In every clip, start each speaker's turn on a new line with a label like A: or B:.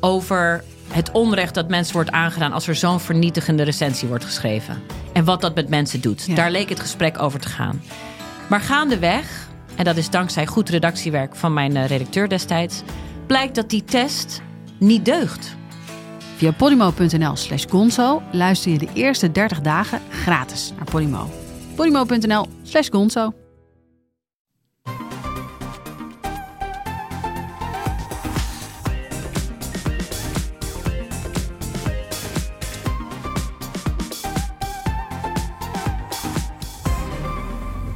A: over het onrecht dat mensen wordt aangedaan als er zo'n vernietigende recensie wordt geschreven. En wat dat met mensen doet. Daar leek het gesprek over te gaan. Maar gaandeweg, en dat is dankzij goed redactiewerk van mijn eh, redacteur destijds, blijkt dat die test niet deugt.
B: Via polymo.nl slash gonzo luister je de eerste 30 dagen gratis naar Polymo. polymo.nl slash gonzo.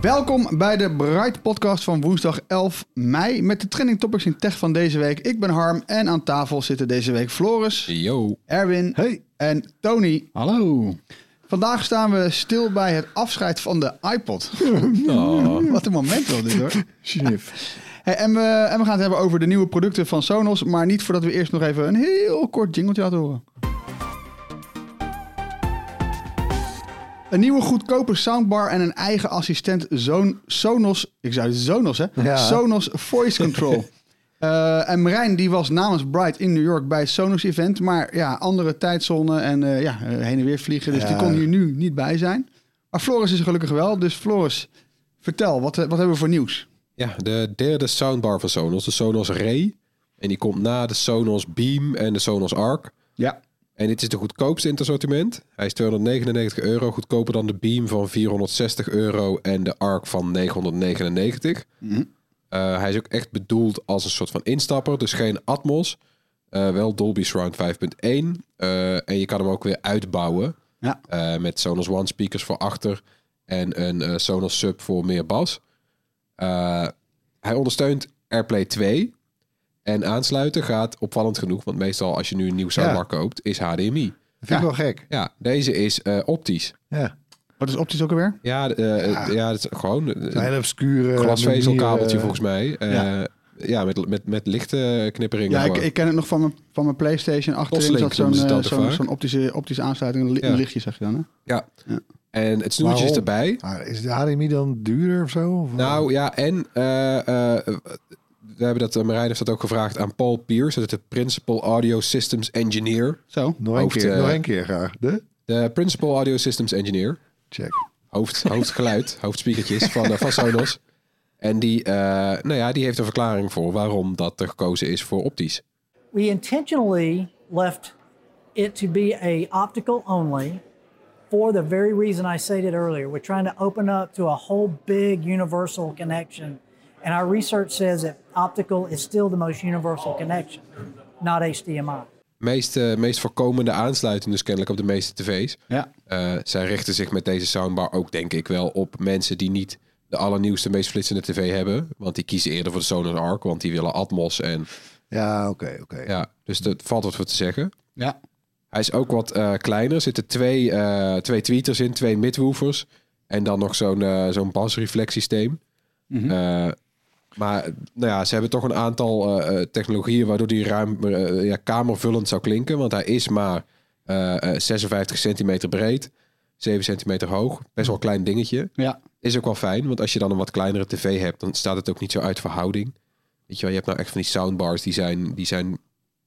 C: Welkom bij de Bright Podcast van woensdag 11 mei met de trending topics in tech van deze week. Ik ben Harm en aan tafel zitten deze week Floris,
D: Yo.
C: Erwin en Tony.
D: Hallo.
C: Vandaag staan we stil bij het afscheid van de iPod. Wat een moment wel dit hoor.
D: Snif.
C: Hey, en, we, en we gaan het hebben over de nieuwe producten van Sonos, maar niet voordat we eerst nog even een heel kort jingletje laten horen. Een nieuwe goedkope soundbar en een eigen assistent Zoon, Sonos, ik zei Sonos hè,
E: Ja.
C: Sonos Voice Control. Eh, en Marijn die was namens Bright in New York bij het Sonos event, maar ja, andere tijdzone en eh, ja, eh, heen en weer vliegen, dus die kon hier nu niet bij zijn. Maar Floris is er gelukkig wel, dus Floris, vertel, wat, eh, wat hebben we voor nieuws?
D: Ja, de derde soundbar van Sonos, de Sonos Ray. En die komt na de Sonos Beam en de Sonos Arc.
C: Ja,
D: En dit is de goedkoopste in het assortiment. Hij is 299 euro, goedkoper dan de Beam van 460 euro en de Arc van 999. Eh, hij is ook echt bedoeld als een soort van instapper, dus geen Atmos. Eh, wel Dolby Surround 5.1. Eh, en je kan hem ook weer uitbouwen
C: Ja.
D: Eh, met Sonos One speakers voor achter en een eh, Sonos Sub voor meer bas. Eh, hij ondersteunt AirPlay 2. En aansluiten gaat opvallend genoeg, want meestal als je nu een nieuw soundbar
F: Ja.
D: koopt, is HDMI.
F: Dat vind ik wel gek.
D: Ja, deze is eh, optisch.
F: Ja.
C: wat is optisch ook alweer?
D: Ja, eh, eh, ja. dat is gewoon
F: Een
D: een
F: hele obscure
D: glasvezelkabeltje
F: manier, eh,
D: volgens mij. Eh,
C: ja.
D: ja, met, met, met lichte knipperingen.
C: Ja, ik,
D: gewoon.
C: ik ken het nog van mijn, van mijn PlayStation. Achterin
D: Toslink
C: zat zo'n
D: noemen ze
C: eh,
D: dat
C: zo'n
D: vaak.
C: zo'n optische, optische aansluiting. Een, li-
D: Ja.
C: een lichtje zeg je dan. Hè?
D: ja.
C: Ja.
D: En het snoertje is
F: Waarom?
D: erbij.
F: Maar is de HDMI dan duurder of zo? Of-
D: Nou ja, en eh, eh, we hebben dat, eh, Marijn heeft dat ook gevraagd aan Paul Pierce, dat is de Principal Audio Systems Engineer.
C: Zo. Oh.
F: nog één
D: hoofd,
F: keer,
D: eh,
F: nog één keer graag. De?
D: De Principal Audio Systems Engineer.
F: Check.
D: hoofd, hoofdgeluid, hoofdspiekertjes van, eh, van Sonos. En die, eh, nou ja, die heeft een verklaring voor waarom dat er gekozen is voor optisch.
G: we intentionally left it to be a optical only for the very reason I stated earlier. We're trying to open up to a whole big universal connection. And our research says that optical is still the most universal connection, not HDMI.
D: Meest, eh, meest voorkomende aansluiting dus kennelijk op de meeste tv's.
C: Ja.
D: Eh, zij richten zich met deze soundbar ook denk ik wel op mensen die niet de allernieuwste, meest flitsende tv hebben. Want die kiezen eerder voor de Sonos Arc, want die willen Atmos. En,
F: Ja, oké, oké.
D: ja, dus dat valt wat voor te zeggen.
C: Ja.
D: Hij is ook wat eh, kleiner. Er zitten twee, eh, twee tweeters in, twee midwoofers. En dan nog zo'n eh, zo'n basreflexsysteem. Eh, maar nou ja, ze hebben toch een aantal eh, eh, technologieën waardoor die ruim eh, ja, kamervullend zou klinken. Want hij is maar eh, eh, 56 centimeter breed, 7 centimeter hoog. Best wel een klein dingetje.
C: Ja.
D: Is ook wel fijn, want als je dan een wat kleinere tv hebt, dan staat het ook niet zo uit verhouding. Weet je wel, je hebt nou echt van die soundbars die zijn, die zijn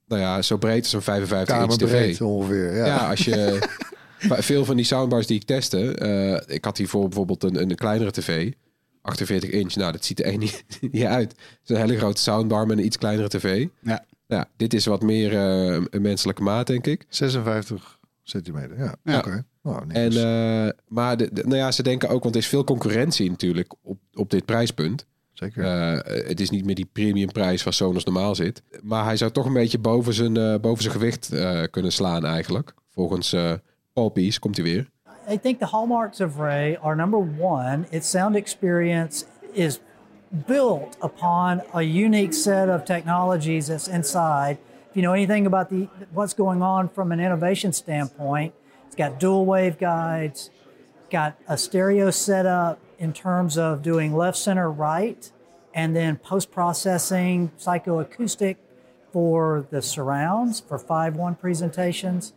D: nou ja, zo breed als een 55 inch tv.
F: Kamerbreed ongeveer. Ja.
D: Ja, als je veel van die soundbars die ik testte, eh, ik had hiervoor bijvoorbeeld een, een kleinere tv, 48 inch. Nou, dat ziet er echt niet, niet uit. Het is een hele grote soundbar met een iets kleinere tv.
C: Ja.
D: Ja, dit is wat meer eh, een menselijke maat, denk ik.
F: 56 centimeter. Ja,
D: Ja.
F: oké. Nou, niks.
D: En, eh, maar de, de- nou ja, ze denken ook, want er is veel concurrentie natuurlijk op, op dit prijspunt.
F: Zeker.
D: Eh, het is niet meer die premiumprijs waar Sonos normaal zit. Maar hij zou toch een beetje boven zijn, eh, boven zijn gewicht eh, kunnen slaan eigenlijk. Volgens eh Paul Pies komt hij weer.
G: I think the hallmarks of Ray are number one, its sound experience is built upon a unique set of technologies that's inside If you know anything about the what's going on from an innovation standpoint, it's got dual wave guides, got a stereo setup in terms of doing left, center, right, and then post processing psychoacoustic for the surrounds for 5 1 presentations.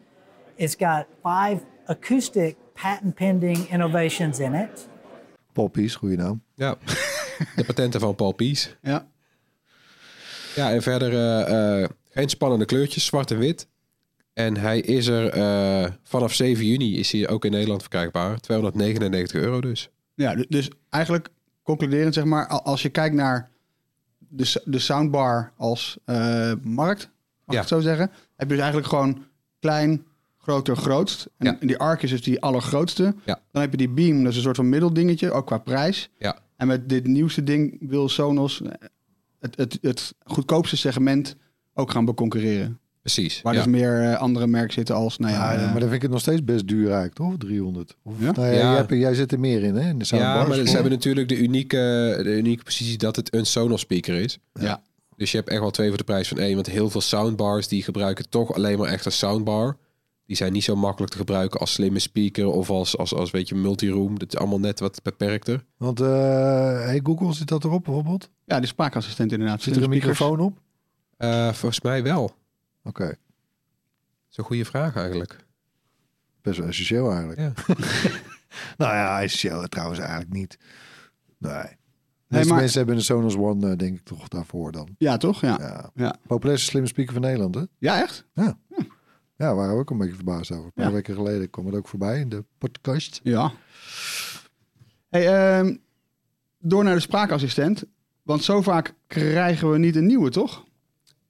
G: It's got five acoustic patent pending innovations in it.
F: Paul Pies, goede naam.
D: Ja, de patenten van Paul Pies.
C: Ja.
D: Ja, en verder eh, eh, geen spannende kleurtjes, zwart en wit. En hij is er eh, vanaf 7 juni is hij ook in Nederland verkrijgbaar. 299 euro dus.
C: Ja, du- dus eigenlijk concluderend zeg maar, a- als je kijkt naar de, s- de soundbar als eh, markt, mag ik
D: Ja.
C: het zo zeggen, heb je dus eigenlijk gewoon klein, groter, grootst. En,
D: Ja.
C: en die arc is dus die allergrootste.
D: Ja.
C: Dan heb je die beam, dat is een soort van middeldingetje, ook qua prijs.
D: Ja,
C: En met dit nieuwste ding wil Sonos eh, het, het, het goedkoopste segment ook gaan beconcurreren.
D: precies.
C: Waar
D: ja.
C: dus meer eh, andere merken zitten als, nou ja,
F: Ah, Ja,
C: eh,
F: maar dan vind ik het nog steeds best duur eigenlijk, toch? 300. Of,
C: Ja?
F: Nou, ja,
D: Ja.
F: Jij, hebt er- jij zit er meer in, hè? In de
D: Ja,
F: soundbars.
D: maar ze hebben natuurlijk de unieke, de unieke positie dat het een Sonos speaker is.
C: Ja.
D: Dus je hebt echt wel twee voor de prijs van één. Want heel veel soundbars die gebruiken toch alleen maar echt een soundbar. Die zijn niet zo makkelijk te gebruiken als slimme speaker of als, als, als weet je, multiroom. Dat is allemaal net wat beperkter.
F: Want eh hey, Google zit dat erop bijvoorbeeld?
C: ja, die spraakassistent inderdaad.
F: Zit er een
C: De speakers.
F: microfoon op? Oké.
D: Eh, volgens mij wel. Dat is een goede vraag eigenlijk.
F: Best wel essentieel eigenlijk.
D: Ja.
F: nou ja, essentieel trouwens eigenlijk niet. Nee. De
C: Nee,
F: meeste
C: maar-
F: mensen hebben een Sonos One, eh, denk ik toch, daarvoor dan.
C: Ja, toch? Ja. Ja,
F: Ja. Populairste slimme speaker van Nederland, hè?
C: ja echt?
F: Ja, waar we ook een beetje verbaasd over. Een paar
C: Ja.
F: weken geleden kwam het ook voorbij in de podcast.
C: Ja. Hey, ehm, door naar de spraakassistent. Want zo vaak krijgen we niet een nieuwe, toch?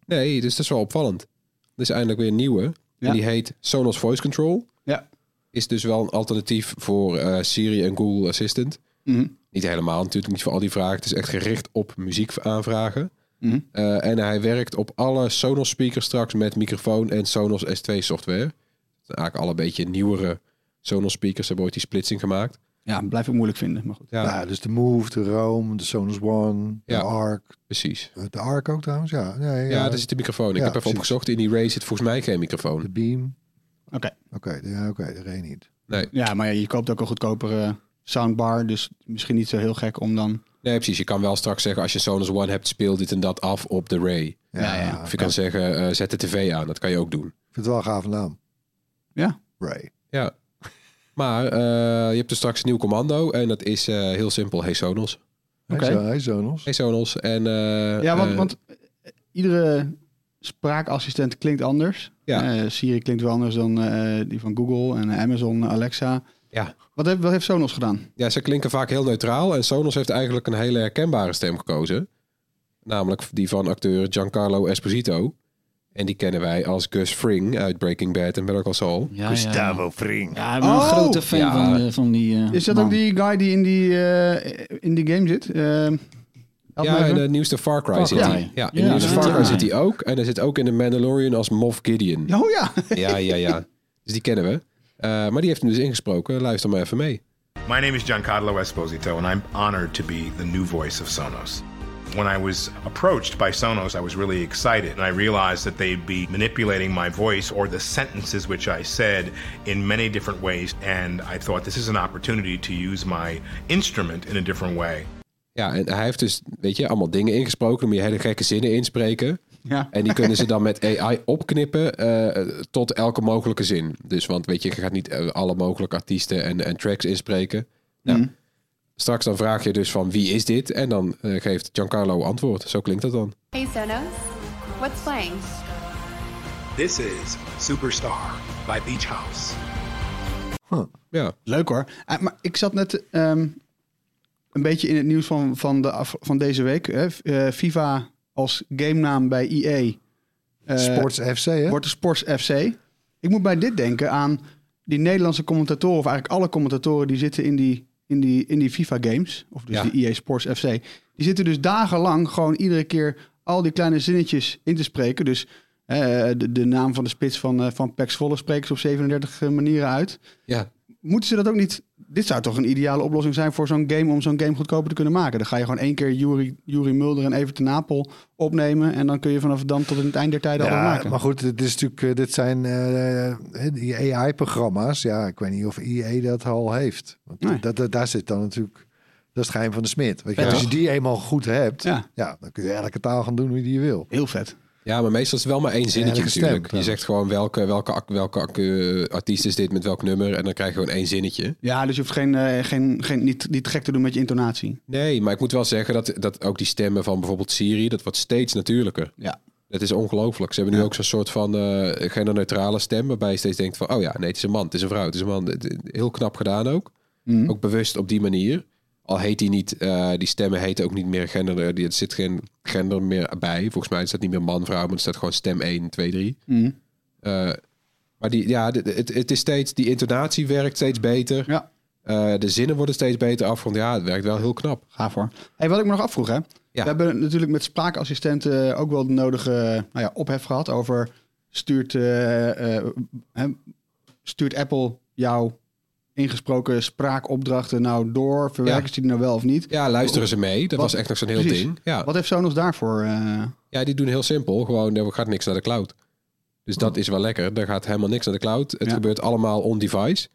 D: Nee, dus dat is wel opvallend. Er is eindelijk weer een nieuwe.
C: Ja.
D: En die heet Sonos Voice Control.
C: Ja.
D: Is dus wel een alternatief voor eh, Siri en Google Assistant.
C: Mhm.
D: Niet helemaal natuurlijk, niet voor al die vragen. Het is echt gericht op muziek aanvragen.
C: Mhm.
D: Eh, en hij werkt op alle Sonos speakers straks met microfoon en Sonos S2 software. Dat zijn eigenlijk alle beetje nieuwere Sonos speakers. Ze hebben ooit die splitsing gemaakt.
C: Ja, blijf ik moeilijk vinden. Maar goed.
D: Ja,
F: Ja. dus de Move, de Roam, de Sonos One,
D: Ja.
F: de Arc. Eh,
D: precies.
F: De Arc ook trouwens, ja. Nee,
D: Ja, dus-
F: ja,
D: daar zit de microfoon. Ik
F: Ja,
D: heb even
F: precies.
D: opgezocht. In die Ray zit volgens mij geen microfoon.
F: De Beam.
C: Oké.
F: Oké, de- ja, oké, de Ray niet.
D: Nee.
C: Ja, maar ja, je koopt ook een goedkopere soundbar. Dus misschien niet zo heel gek om dan...
D: nee, precies. Je kan wel straks zeggen als je Sonos One hebt, speel dit en dat af op de Ray.
C: Ja, ja.
F: ik
D: Of je kan zeggen, eh, zet de tv aan. Dat kan je ook doen.
F: vind het wel een gave naam.
C: Ja.
F: Ray.
D: Ja. Maar eh, je hebt dus straks een nieuw commando. En dat is eh, heel simpel. Hey Sonos.
F: Oké.
C: Oké.
F: Hey, Zo- hey, Sonos.
D: Hey Sonos. En, eh,
C: Ja, want,
D: eh,
C: want iedere spraakassistent klinkt anders.
D: Ja.
C: Eh, Siri klinkt wel anders dan eh, die van Google en Amazon, Alexa.
D: Ja.
C: Wat, heeft, wat heeft Sonos gedaan?
D: ja, ze klinken vaak heel neutraal. En Sonos heeft eigenlijk een hele herkenbare stem gekozen. Namelijk die van acteur Giancarlo Esposito. En die kennen wij als Gus Fring uit Breaking Bad en Better Call Saul.
H: Ja, ja.
F: Fring.
H: Ja, ik ben een
C: Oh!
H: grote fan
D: Ja.
H: van, eh, van die eh,
C: Is dat
H: man.
C: ook die guy die in die, eh, in die game zit? Eh, help me
D: ja, in
C: even.
D: de nieuwste Far Cry
H: Far
D: zit
H: Cry.
D: hij. Ja, in de
H: Ja,
D: nieuwste
H: dat
D: Far
H: is
D: Cry
H: hij.
D: zit hij ook. En hij zit ook in de Mandalorian als Moff Gideon.
C: Oh ja.
D: Ja, ja, ja. Dus die kennen we. Eh, maar die heeft hem dus ingesproken. Luister maar even mee.
E: My name is Giancarlo Esposito, and I'm honored to be the new voice of Sonos. When I was approached by Sonos, I was really excited, and I realized that they'd be manipulating my voice or the sentences which I said in many different ways, and I thought this is an opportunity to use my instrument in a different way.
D: Ja, en hij heeft dus, weet je, allemaal dingen ingesproken. Dan moet je hele gekke zinnen inspreken.
C: Ja.
D: En die kunnen ze dan met AI opknippen eh, tot elke mogelijke zin. Dus, want weet je, je gaat niet eh, alle mogelijke artiesten en, en tracks inspreken. Nou,
H: Mm.
D: Straks dan vraag je dus van wie is dit? En dan eh, geeft Giancarlo antwoord. Zo klinkt dat dan.
I: Hey Sonos, what's playing?
J: This is Superstar by Beach House.
D: Ja,
C: Leuk hoor. Eh, maar ik zat net ehm, een beetje in het nieuws van, van, de, af- van deze week. Hè. V- eh, FIFA als game naam bij EA. eh,
F: Sports FC, hè?
C: Wordt de Sports FC. Ik moet bij dit denken aan die Nederlandse commentatoren, of eigenlijk alle commentatoren die zitten in die, in die, in die FIFA games, of dus
D: Ja.
C: die EA Sports FC. Die zitten dus dagenlang gewoon iedere keer al die kleine zinnetjes in te spreken. Dus eh, de, de naam van de spits van, eh, van Pax Volle spreken ze op 37 eh, manieren uit
D: ja.
C: moeten ze dat ook niet Dit zou toch een ideale oplossing zijn voor zo'n game om zo'n game goedkoper te kunnen maken. Dan ga je gewoon één keer Jury, Jury Mulder en Everton Napel opnemen. En dan kun je vanaf dan tot in het eind der tijden al wat
F: Ja,
C: maken.
F: maar goed, dit, is natuurlijk, eh, dit zijn eh, die AI-programma's. Ja, ik weet niet of IE dat al heeft. Want
C: Nee.
F: dat, dat- daar zit dan natuurlijk... Dat is het geheim van de smid. Weet je,
D: Ja.
F: Als je die eenmaal goed hebt,
C: Ja.
F: ja. dan kun je elke taal gaan doen wie die je wil.
C: Heel vet.
D: Ja, maar meestal is het wel maar één zinnetje
F: Elke stem,
D: natuurlijk. Je
F: ja.
D: zegt gewoon welke, welke, ac- welke, ac- eh, artiest is dit met welk nummer. En dan krijg je gewoon één zinnetje.
C: Ja, dus je hoeft geen, eh, geen, geen, niet, niet gek te doen met je intonatie.
D: Nee, maar ik moet wel zeggen dat, dat ook die stemmen van bijvoorbeeld Siri, dat wordt steeds natuurlijker.
C: Ja.
D: Dat is ongelooflijk. Ze hebben nu ook zo'n soort van eh genderneutrale stem, waarbij je steeds denkt van, oh ja, nee, het is een man, het is een vrouw, het is een man. Het- het- Heel knap gedaan ook. Ook bewust op die manier. Al heet die niet, eh, die stemmen heten ook niet meer gender, eh, die- er zit geen gender meer bij. Volgens mij is dat niet meer man, vrouw, maar het staat gewoon stem 1, 2, 3. Eh, maar die, ja, de- de- het, het is steeds, die intonatie werkt steeds beter.
C: Ja,
D: Eh, de zinnen worden steeds beter afgerond. Ja, het werkt wel heel knap.
C: gaaf hoor. Hey, wat ik me nog afvroeg, hè? We hebben natuurlijk met spraakassistenten eh, ook wel de nodige nou ja, ophef gehad over stuurt, eh, eh, hè, stuurt Apple jouw ingesproken spraakopdrachten nou door? Verwerken
D: Ja.
C: ze die nou wel of niet?
D: Ja, luisteren ze mee. Dat
C: Wat-
D: was echt nog zo'n heel
C: Precies.
D: ding. Ja.
C: Wat heeft Sonos daarvoor? eh,
D: ja, die doen heel simpel. Gewoon, er gaat niks naar de cloud. Dus dat is wel lekker. Er gaat helemaal niks naar de cloud. Het
C: Ja.
D: gebeurt allemaal on-device.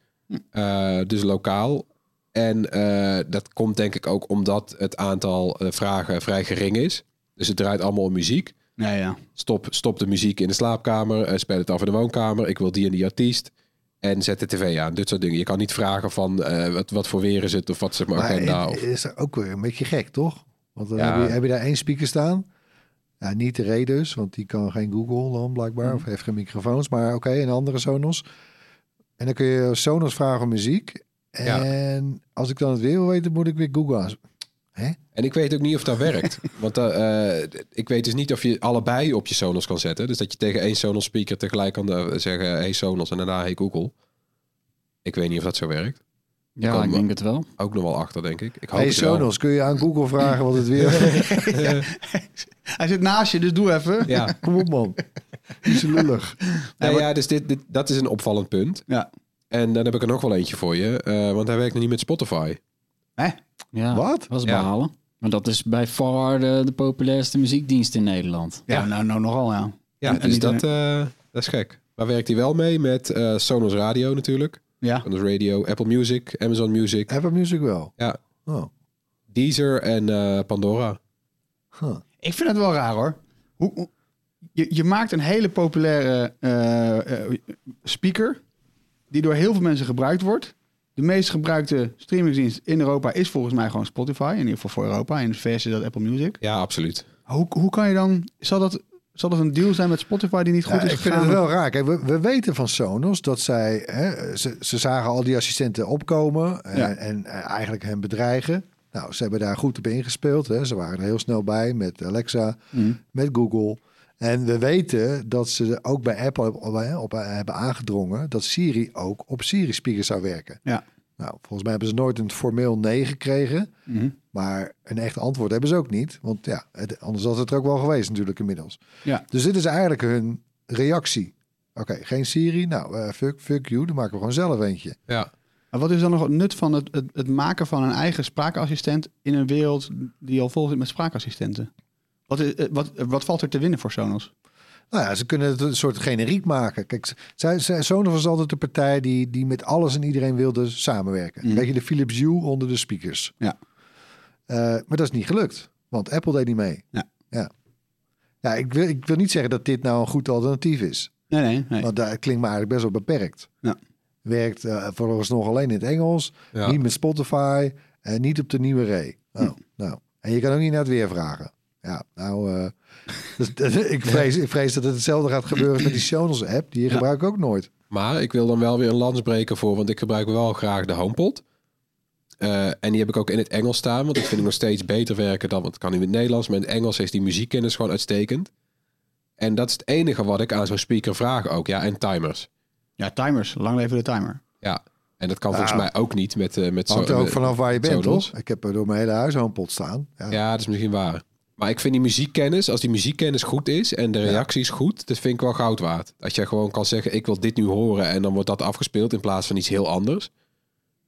D: Eh, dus lokaal. En eh, dat komt denk ik ook omdat het aantal eh, vragen vrij gering is. Dus het draait allemaal om muziek.
C: ja, ja.
D: Stop, stop de muziek in de slaapkamer. eh, speel het af in de woonkamer. Ik wil die en die artiest. En zet de tv aan. Dit soort dingen. Je kan niet vragen van eh, wat, wat voor weer is het of wat zeg maar
F: Maar
D: agenda.
F: het
D: of-
F: is ook weer een beetje gek, toch? Want dan
D: nou. Ja.
F: heb, je, heb je daar één speaker staan. Ja, niet de Ray dus, want die kan geen Google dan blijkbaar.
D: Mhm.
F: Of heeft geen microfoons, maar oké, een andere Sonos. En dan kun je Sonos vragen om muziek.
D: Ja.
F: En als ik dan het weer wil weten, moet ik weer Google aan.
D: En ik weet ook niet of dat werkt. Want eh, eh, ik weet dus niet of je allebei op je Sonos kan zetten. Dus dat je tegen één Sonos speaker tegelijk kan eh, zeggen... hey Sonos en daarna hey Google. Ik weet niet of dat zo werkt.
H: Ja,
D: kan
H: ik
D: wel.
H: denk het wel.
D: Ook nog wel achter, denk ik. ik hoop
F: Hey
D: het wel.
F: Sonos, kun je aan Google vragen wat het weer...
C: Hij zit naast je, dus doe even.
D: Ja.
F: Kom op man, die is lullig.
D: Nou ja, dus dit, dit, dat is een opvallend punt.
C: Ja.
D: En dan heb ik er nog wel eentje voor je. eh, want hij werkt nog niet met Spotify.
H: Ja,
F: Wat?
H: was
D: Ja.
H: behalen. Maar dat is bij far de, de populairste muziekdienst in Nederland.
C: Ja, nou, nou nogal, ja.
D: Ja,
C: En- en
D: dus
C: niet
D: dat, eh, dat is gek. Maar werkt hij wel mee met eh, Sonos Radio natuurlijk.
C: Ja.
D: Sonos Radio, Apple Music, Amazon Music,
F: Apple Music wel.
D: Ja.
F: Oh.
D: Deezer en eh, Pandora.
F: Huh.
C: Ik vind het wel raar hoor. Hoe, hoe- je, je maakt een hele populaire eh, eh, speaker die door heel veel mensen gebruikt wordt. De meest gebruikte streamingsdienst in Europa is volgens mij gewoon Spotify. In ieder geval voor Europa. In de VS is dat Apple Music.
D: Ja, absoluut.
C: Hoe, hoe kan je dan... Zal dat, zal dat een deal zijn met Spotify die niet goed
F: Ja,
C: is
F: ik vind
C: gegaan?
F: het wel raar. Kijk, we, we weten van Sonos dat zij... Hè, ze, ze zagen al die assistenten opkomen en,
C: Ja.
F: en eh, eigenlijk hen bedreigen. Nou, ze hebben daar goed op ingespeeld. Hè. Ze waren er heel snel bij met Alexa,
C: Mhm.
F: met Google. En we weten dat ze ook bij Apple op, op- hè, op- eh, hebben aangedrongen... dat Siri ook op Siri-speakers zou werken.
C: Ja.
F: Nou, volgens mij hebben ze nooit een formeel nee gekregen.
C: Mhm.
F: Maar een echt antwoord hebben ze ook niet. Want ja, het- anders had het er ook wel geweest natuurlijk inmiddels.
C: Ja.
F: Dus dit is eigenlijk hun reactie. Oké, geen Siri. Nou, eh, fuck, fuck you. Dan maken we gewoon zelf eentje.
D: Ja.
C: Maar wat is dan nog het nut van het, het, het maken van een eigen spraakassistent... in een wereld die al vol zit met spraakassistenten? Wat, is, eh, wat, wat valt er te winnen voor Sonos?
F: Nou ja, ze kunnen het een soort generiek maken. Kijk, z- zij, zij, Sonos was altijd de partij die, die met alles en iedereen wilde
C: Mhm.
F: samenwerken. Een beetje de Philips Hue onder de speakers.
C: Ja.
F: Eh, maar dat is niet gelukt, want Apple deed niet mee.
C: Ja.
F: ja. Ja, ik, wil, ik wil niet zeggen dat dit nou een goed alternatief is.
C: Nee, nee, nee.
F: Want dat klinkt me eigenlijk best wel beperkt.
C: Ja.
F: Werkt eh, volgens nog alleen in het Engels,
D: Ja. Hm.
F: niet met Spotify en niet op de nieuwe Ray. Oh, nou. En je kan ook niet naar het weer vragen. Ja, nou, eh, dus, ik, vrees, ik vrees dat het hetzelfde gaat gebeuren als met die Sonos app. Die gebruik ik ook nooit.
D: Maar ik wil dan wel weer een lans breken voor, want ik gebruik wel graag de HomePod. Eh, en die heb ik ook in het Engels staan, want ik vind hem nog steeds beter werken dan, want het kan niet in het Nederlands, maar in het Engels is die muziekkennis gewoon uitstekend. En dat is het enige wat ik aan zo'n speaker vraag ook, ja, en timers.
C: Ja, timers. Lang leven de timer.
D: Ja, en dat kan volgens mij ook niet met, eh met
F: Nou. Hangt er ook
D: met-
F: vanaf waar je bent,
D: Sonos.
F: toch? Ik heb er door mijn hele huis een pot staan. Ja.
D: Ja, dat is misschien waar. Maar ik vind die muziekkennis, als die muziekkennis goed is en de reactie is goed, dat vind ik wel goud waard. Als jij gewoon kan zeggen, ik wil dit nu horen en dan wordt dat afgespeeld in plaats van iets heel anders.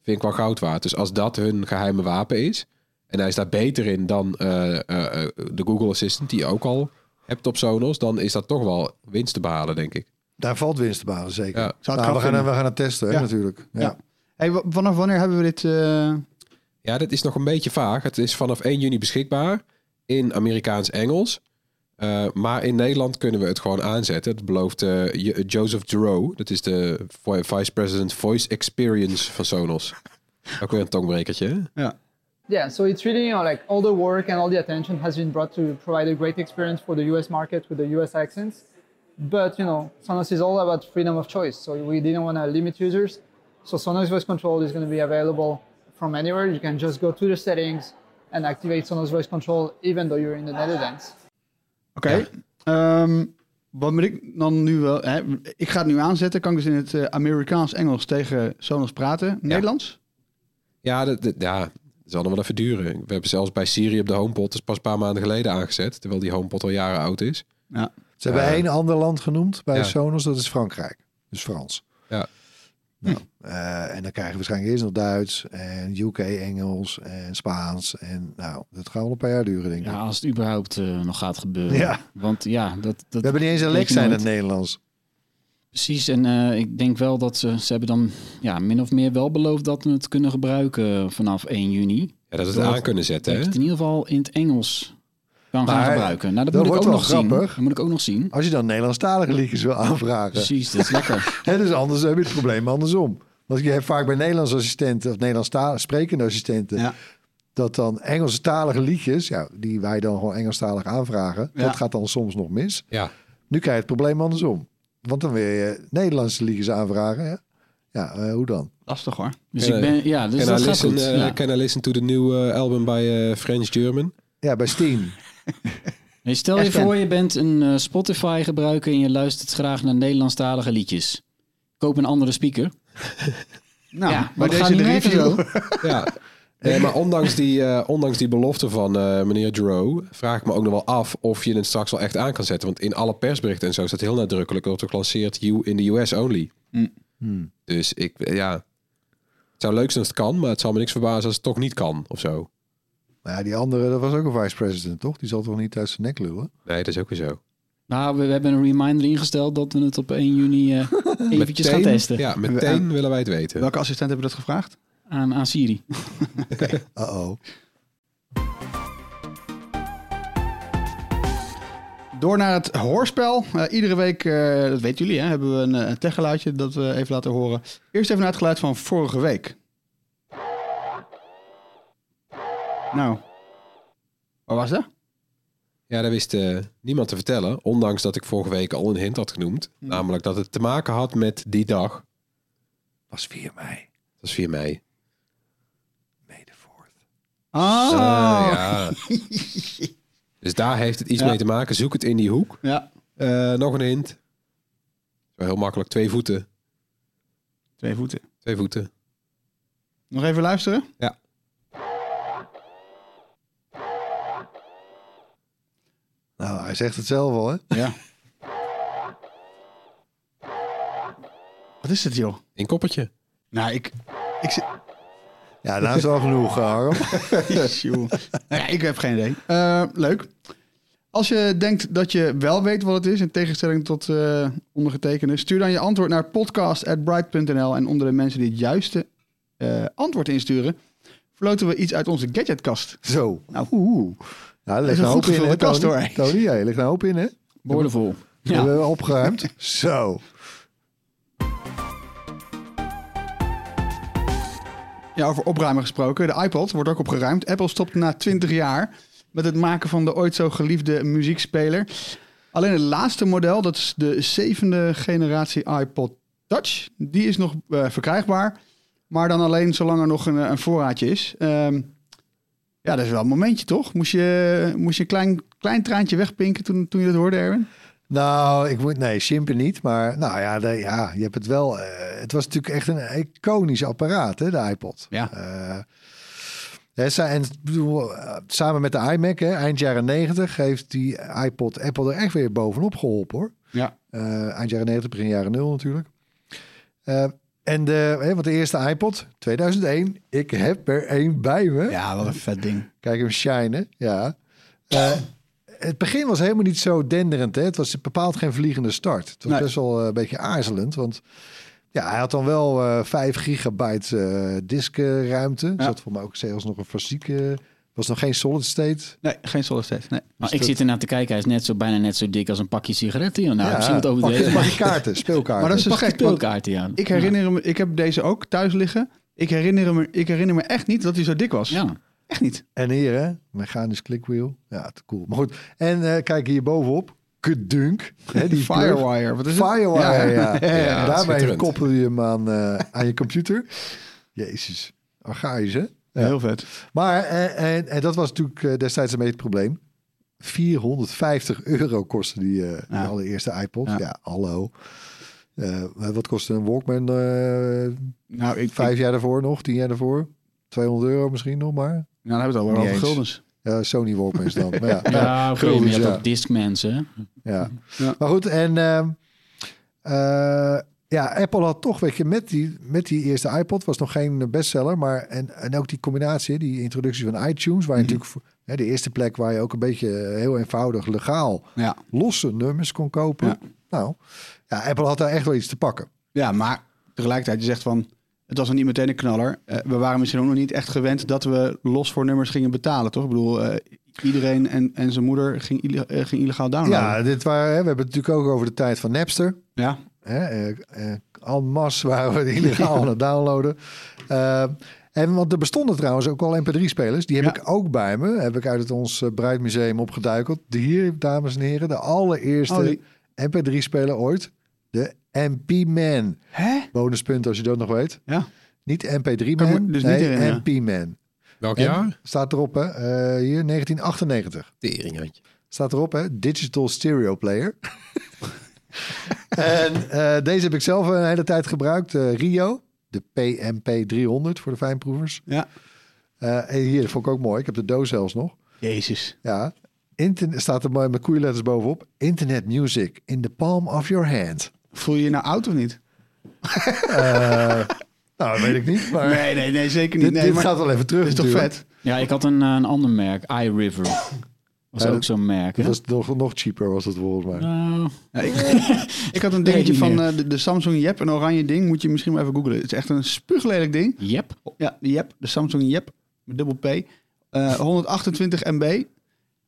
D: Vind ik wel goud waard. Dus als dat hun geheime wapen is. En hij is daar beter in dan eh, eh, eh, de Google Assistant, die je ook al hebt op Sonos. Dan is dat toch wel winst te behalen, denk ik.
F: Daar valt winst te behalen, zeker.
D: Ja.
C: Zou het
F: Nou, we,
C: knap
F: gaan, we
C: vinden.
F: gaan het testen, hè,
C: Ja.
F: natuurlijk. Ja.
C: Ja. Hey, wa- vanaf wanneer hebben we dit? eh,
D: Ja, dat is nog een beetje vaag. Het is vanaf 1 juni beschikbaar in Amerikaans-Engels. Eh, maar in Nederland kunnen we het gewoon aanzetten. Dat belooft eh, Jo- Joseph Duro. Dat is de vo- Vice President Voice Experience van Sonos. Ook weer een tongbrekertje. hè?
K: Yeah, so it's really, you know, like all the work and all the attention has been brought to provide a great experience for the US market with the US accents. But, you know, Sonos is all about freedom of choice. So we didn't want to limit users. So Sonos voice control is going to be available from anywhere. You can just go to the settings and activate Sonos voice control even though you're in the Netherlands.
C: Oké. Ehm, wat moet ik dan nu wel? Hè? Ik ga het nu aanzetten. Kan ik dus in het eh, Amerikaans-Engels tegen Sonos praten? Nederlands?
D: Ja, dat, dat- ja, dat zal nog wel even duren. We hebben zelfs bij Siri op de HomePod... dat is pas een paar maanden geleden aangezet. Terwijl die HomePod al jaren oud is.
C: Ja.
F: Ze hebben
D: Eh,
F: één ander land genoemd bij
D: ja.
F: Sonos, dat is Frankrijk. Dus Frans.
D: Ja.
F: Nou, eh, en dan krijgen we waarschijnlijk eerst nog Duits en UK Engels en Spaans. En nou, dat gaat wel een paar jaar duren, denk ik.
H: Ja, als het überhaupt eh, nog gaat gebeuren.
F: Ja.
H: Want ja, dat...
F: we
H: dat
F: hebben niet eens
H: weet je
F: Alexa in
H: nooit.
F: het Nederlands.
H: Precies, en eh, ik denk wel dat ze... Ze hebben dan ja, min of meer wel beloofd dat we het kunnen gebruiken vanaf 1 juni.
D: Ja, dat we het
H: Door-
D: aan kunnen zetten,
H: Dat je
D: hè?
H: het in ieder geval in het Engels kan
F: Maar
H: gaan gebruiken. Nou, dat,
F: dat
H: moet ik ook
F: wordt
H: nog
F: wel
H: zien.
F: grappig.
H: Dat moet ik ook nog zien.
F: Als je dan Nederlandstalige liedjes wil aanvragen.
H: Precies, dat is lekker.
F: Hè, dus anders heb je het probleem andersom. Want je hebt vaak bij Nederlands assistenten of Nederlands sprekende assistenten...
C: Ja.
F: dat dan Engelstalige liedjes, ja, die wij dan gewoon Engelstalig aanvragen...
C: Ja.
F: dat gaat dan soms nog mis.
D: Ja.
F: Nu krijg je het probleem andersom. Want dan wil je Nederlandse liedjes aanvragen. Hè? Ja, eh, hoe dan?
C: Lastig hoor.
H: Dus
D: Can
H: ik
D: I-
H: ben... Ja, dus
D: can,
H: dat
D: I
H: gaat
D: listen,
H: goed.
D: eh,
H: Ja.
D: can I listen to the new eh, album by eh, French German?
F: Ja, bij Steam.
H: Nee, stel je
C: Echt, Ken?
H: voor, je bent een eh, Spotify-gebruiker en je luistert graag naar Nederlandstalige liedjes. Koop een andere speaker.
C: Nou,
H: Ja,
C: bij
H: want we gaan
C: deze
H: nu merken
C: review.
D: Ja. Nee, maar ondanks die, eh, ondanks die belofte van eh, meneer Dro, vraag ik me ook nog wel af of je het straks wel echt aan kan zetten. Want in alle persberichten en zo staat heel nadrukkelijk dat het lanceert you in the US only.
H: Hmm.
D: Dus ik, eh, ja, het zou leuk zijn als het kan, maar het zal me niks verbazen als het toch niet kan of zo.
F: Maar ja, die andere, dat was ook een vice-president, toch? Die zal toch niet uit zijn nek lullen?
D: Nee, dat is ook weer zo.
H: Nou, we, we hebben een reminder ingesteld dat we het op 1 juni eh, eventjes gaan
D: Meteen-
H: testen
D: Ja, meteen willen wij het weten.
C: Welke assistent hebben dat gevraagd?
H: aan, aan Siri.
F: Uh-oh.
C: Door naar het hoorspel. Eh, iedere week, eh, dat weten jullie, hè, hebben we een, eh, een techgeluidje dat we even laten horen. Eerst even naar het geluid van vorige week. Nou, waar was dat?
D: Ja, dat wist eh, niemand te vertellen. Ondanks dat ik vorige week al een hint had genoemd.
F: Hmm.
D: Namelijk dat het te maken had met die dag. Dat
F: Was 4 mei.
D: was 4 mei.
F: May the 4th.
C: Ah,
D: Eh, ja. dus daar heeft het iets
C: Ja.
D: mee te maken. Zoek het in die hoek.
C: ja.
D: Eh, nog een hint. Zo heel makkelijk. Twee voeten.
C: Twee voeten.
D: Twee voeten.
C: Nog even luisteren.
D: Ja.
F: Nou, hij zegt het zelf al, hè?
C: Ja. Wat is het, joh?
D: In koppertje.
C: Nou, ik... ik zit-
F: Ja, nou is wel genoeg, eh, Harm.
C: Joh. Nou ja, ik heb geen idee. Eh, leuk. Als je denkt dat je wel weet wat het is, in tegenstelling tot eh ondergetekende, stuur dan je antwoord naar podcast.bright.nl. En onder de mensen die het juiste eh, antwoord insturen, verloten we iets uit onze gadgetkast.
F: Zo.
C: Nou,
F: Oeh. Nou, er
C: is
F: ligt
C: een
F: een hoop
C: goed
F: in, hè,
C: gevulde kast,
F: Tony?
C: hoor.
F: Tony, ja, je ligt een hoop in, hè?
H: Boordevol.
F: We
H: Ja.
F: hebben we opgeruimd. Zo.
C: Ja, over opruimen gesproken. De iPod wordt ook opgeruimd. Apple stopt na 20 jaar met het maken van de ooit zo geliefde muziekspeler. Alleen het laatste model, dat is de zevende generatie iPod Touch, die is nog eh, verkrijgbaar. Maar dan alleen zolang er nog een, eh, een voorraadje is. Ehm, ja, dat is wel een momentje toch? Moest je, moest je een klein, klein traantje wegpinken toen, toen je dat hoorde, Erwin?
F: Nou, ik moet, nee, Shimpen niet. Maar nou ja, de- ja je hebt het wel. eh, het was natuurlijk echt een iconisch apparaat, hè, de iPod.
C: Ja.
F: Eh, hè, sa- en ik bedoel, eh, samen met de iMac, hè, eind jaren 90, heeft die iPod Apple er echt weer bovenop geholpen hoor.
C: Ja.
F: Eh, eind jaren 90, begin jaren 0 natuurlijk. Eh, En de, hè, want de eerste iPod, 2001. Ik heb er één bij me.
C: Ja, wat een vet ding.
F: Kijk hem shinen, ja. Eh, het begin was helemaal niet zo denderend. Hè? Het was bepaald geen vliegende start. Het was
C: Nee.
F: best wel eh, een beetje aarzelend. Want ja, hij had dan wel eh 5 gigabyte eh diskruimte. Er zat voor mij ook zelfs nog een fysieke... was nog geen solid state.
C: Nee, geen solid state. Nee.
H: Maar
F: Dus
H: ik
F: dat-
H: zit ernaar te kijken. Hij is net zo, bijna net zo dik als een pakje sigaretten. joh. Nou,
F: Ja,
H: misschien wat over
F: pak-
H: deze.
F: pak je kaarten, speelkaarten.
C: Maar dat is dus
H: Pak je
C: gek, want
H: speelkaarten, ja.
C: Ik herinner me, ik heb deze ook thuis liggen. Ik herinner me, ik herinner me echt niet dat hij zo dik was.
H: Ja.
C: Echt niet.
F: En hier, hè? Mechanisch clickwheel. Ja, te cool. Maar goed. En eh, kijk hier bovenop. Kudunk. Hè, die plug.
C: Firewire, wat is het?
F: Firewire, ja.
C: Ja. Ja,
F: En Daarmee
C: schitterend.
F: koppel je hem aan, eh, aan je computer. Jezus. Archaïs, hè? Ja.
C: Heel vet.
F: Maar, eh, en, en dat was natuurlijk eh, destijds een beetje het probleem. 450 euro kostte die, eh, die allereerste iPod. Ja, hallo. Eh, wat kostte een Walkman eh,
C: nou, ik,
F: vijf jaar daarvoor nog, tien jaar daarvoor? 200 euro misschien nog maar.
C: Nou, dan hebben we het al
F: Niet
C: over
F: eens.
C: guldens.
F: Ja, Sony Walkmans dan. Maar ja,
H: Ja, op een gegeven moment, je
F: guldens,
H: had ook Discmans, hè?
F: ja. Maar goed, en ehm, eh, ja, Apple had toch, weet je, met die, met die eerste iPod was nog geen bestseller, maar en, en ook die combinatie, die introductie van iTunes, waar je natuurlijk voor- hè, de eerste plek waar je ook een beetje eh, heel eenvoudig legaal
C: Ja.
F: losse nummers kon kopen. Nou, ja, Apple had daar echt wel iets te pakken.
C: Ja, maar tegelijkertijd, je zegt van, het was nog niet meteen een knaller. Eh, we waren misschien ook nog niet echt gewend dat we los voor nummers gingen betalen, toch? Ik bedoel, eh, iedereen en, en zijn moeder ging, ille- eh, ging illegaal downloaden.
F: Ja, dit waren, hè, we hebben het natuurlijk ook over de tijd van Napster.
C: Ja.
F: Hè, eh, eh, en masse waren we illegaal aan het downloaden. Eh, en want er bestonden trouwens ook al MP3-spelers. Die heb ik ook bij me. Heb ik uit het ons eh, Bruidmuseum opgeduikeld. De hier, dames en heren, de allereerste
C: Oh, die-
F: MP3-speler ooit. De MP-Man.
C: Hè?
F: Bonuspunt als je dat nog weet.
C: Ja.
F: Niet MP3-Man,
C: Kan me dus niet
F: nee,
C: herinneren.
F: MP-Man.
D: Welk
F: En
D: jaar?
F: Staat erop, hè? eh, hier, 1998.
D: Teringhantje.
F: Staat erop, hè? Digital Stereo Player. en eh, deze heb ik zelf een hele tijd gebruikt. eh, Rio, de PMP300 voor de fijnproevers.
C: Ja.
F: en hier, dat vond ik ook mooi. Ik heb de doos zelfs nog.
C: Jezus.
F: Ja. Internet, staat er mooi met koeienletters bovenop. Internet music in the palm of your hand.
C: Voel je je nou oud of niet?
F: Eh, nou, dat weet ik niet. Maar
C: Nee, nee, nee, zeker niet.
F: Dit,
C: Nee,
F: dit
C: maar-
F: gaat wel even terug
C: Dit is toch
F: natuurlijk.
C: vet?
H: Ja, ik had een, eh, een ander merk, iRiver. Was
F: Ja,
H: ook
F: dat-
H: zo'n merk.
F: Dat
H: hè?
F: was nog, nog cheaper, was het volgens mij.
H: Nou,
C: Ja, ik, ik had een dingetje
H: niet
C: van
H: meer.
C: eh, de, de Samsung Jep, een oranje ding. Moet je misschien maar even googlen. Het is echt een spuuglelijk ding.
H: Jep.
C: Ja, de Jep, de Samsung Jep, met dubbel P. Eh, 128 MB.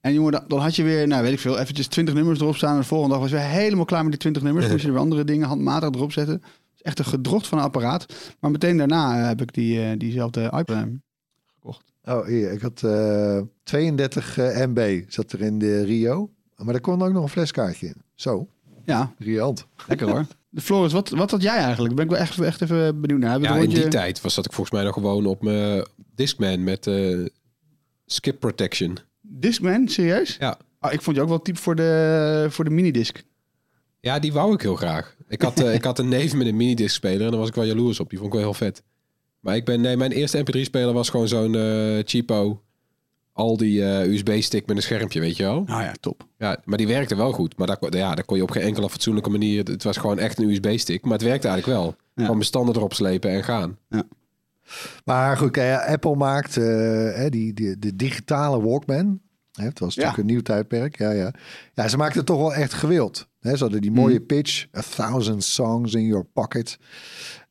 C: En jongen, dan, dan had je weer, nou weet ik veel, eventjes 20 nummers erop staan. En de volgende dag was je weer helemaal klaar met die 20 nummers. Moest je er weer andere dingen handmatig erop zetten. Het is echt een gedrocht van een apparaat. Maar meteen daarna eh, heb ik die, eh, diezelfde iPad.
F: Oh, hier, ik had eh, 32 eh, MB zat er in de Rio. Maar daar kon ook nog een fleskaartje in. Zo,
C: Ja,
F: riant.
C: lekker hoor. Floris, wat, wat had jij eigenlijk? Daar Ben ik wel echt, echt even benieuwd naar. Heb je
D: Ja,
C: het
D: in die
C: rondje-
D: tijd was dat ik volgens mij nog gewoon op mijn Discman met eh, skip protection.
C: Discman, serieus?
D: Ja.
C: Ah, ik vond je ook wel type voor de, voor de minidisc.
D: Ja, die wou ik heel graag. Ik had, eh, ik had een neef met een minidisc speler en daar was ik wel jaloers op. Die vond ik wel heel vet. Maar ik ben, nee, mijn eerste MP3 speler was gewoon zo'n eh, cheapo Aldi eh USB stick met een schermpje, weet je wel?
C: Nou ja, top.
D: Ja, maar die werkte wel goed. Maar daar, kon- ja, daar kon je op geen enkele fatsoenlijke manier. Het was gewoon echt een USB stick, maar het werkte eigenlijk wel. Gewoon bestanden erop slepen en gaan.
F: Maar goed, kijk, ja, Apple maakt eh, hè, die, die, de digitale Walkman. Hè, het was natuurlijk
C: Ja.
F: een nieuw tijdperk. Ja, ja. ja, ze maakten het toch wel echt gewild. Hè, ze hadden
C: Hmm.
F: die mooie pitch. A thousand songs in your pocket.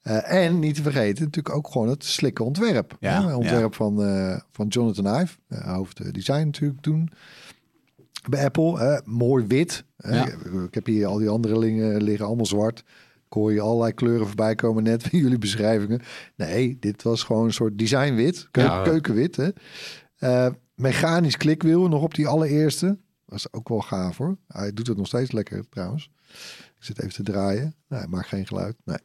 F: Eh, en niet te vergeten natuurlijk ook gewoon het slikke ontwerp.
C: Ja,
F: hè, ontwerp van, eh, van Jonathan Ive. eh, hoofddesign natuurlijk toen. Bij Apple, hè, mooi wit. hè.
C: Ja.
F: Ik heb hier al die andere dingen liggen, allemaal zwart. Ik hoor je allerlei kleuren voorbij komen net van jullie beschrijvingen. Nee, dit was gewoon een soort designwit, keu-
D: Ja.
F: keukenwit. Hè? Eh, mechanisch klikwiel nog op die allereerste. Was ook wel gaaf hoor. Hij doet het nog steeds lekker trouwens. Ik zit even te draaien. Nee, hij maakt geen geluid. Nee.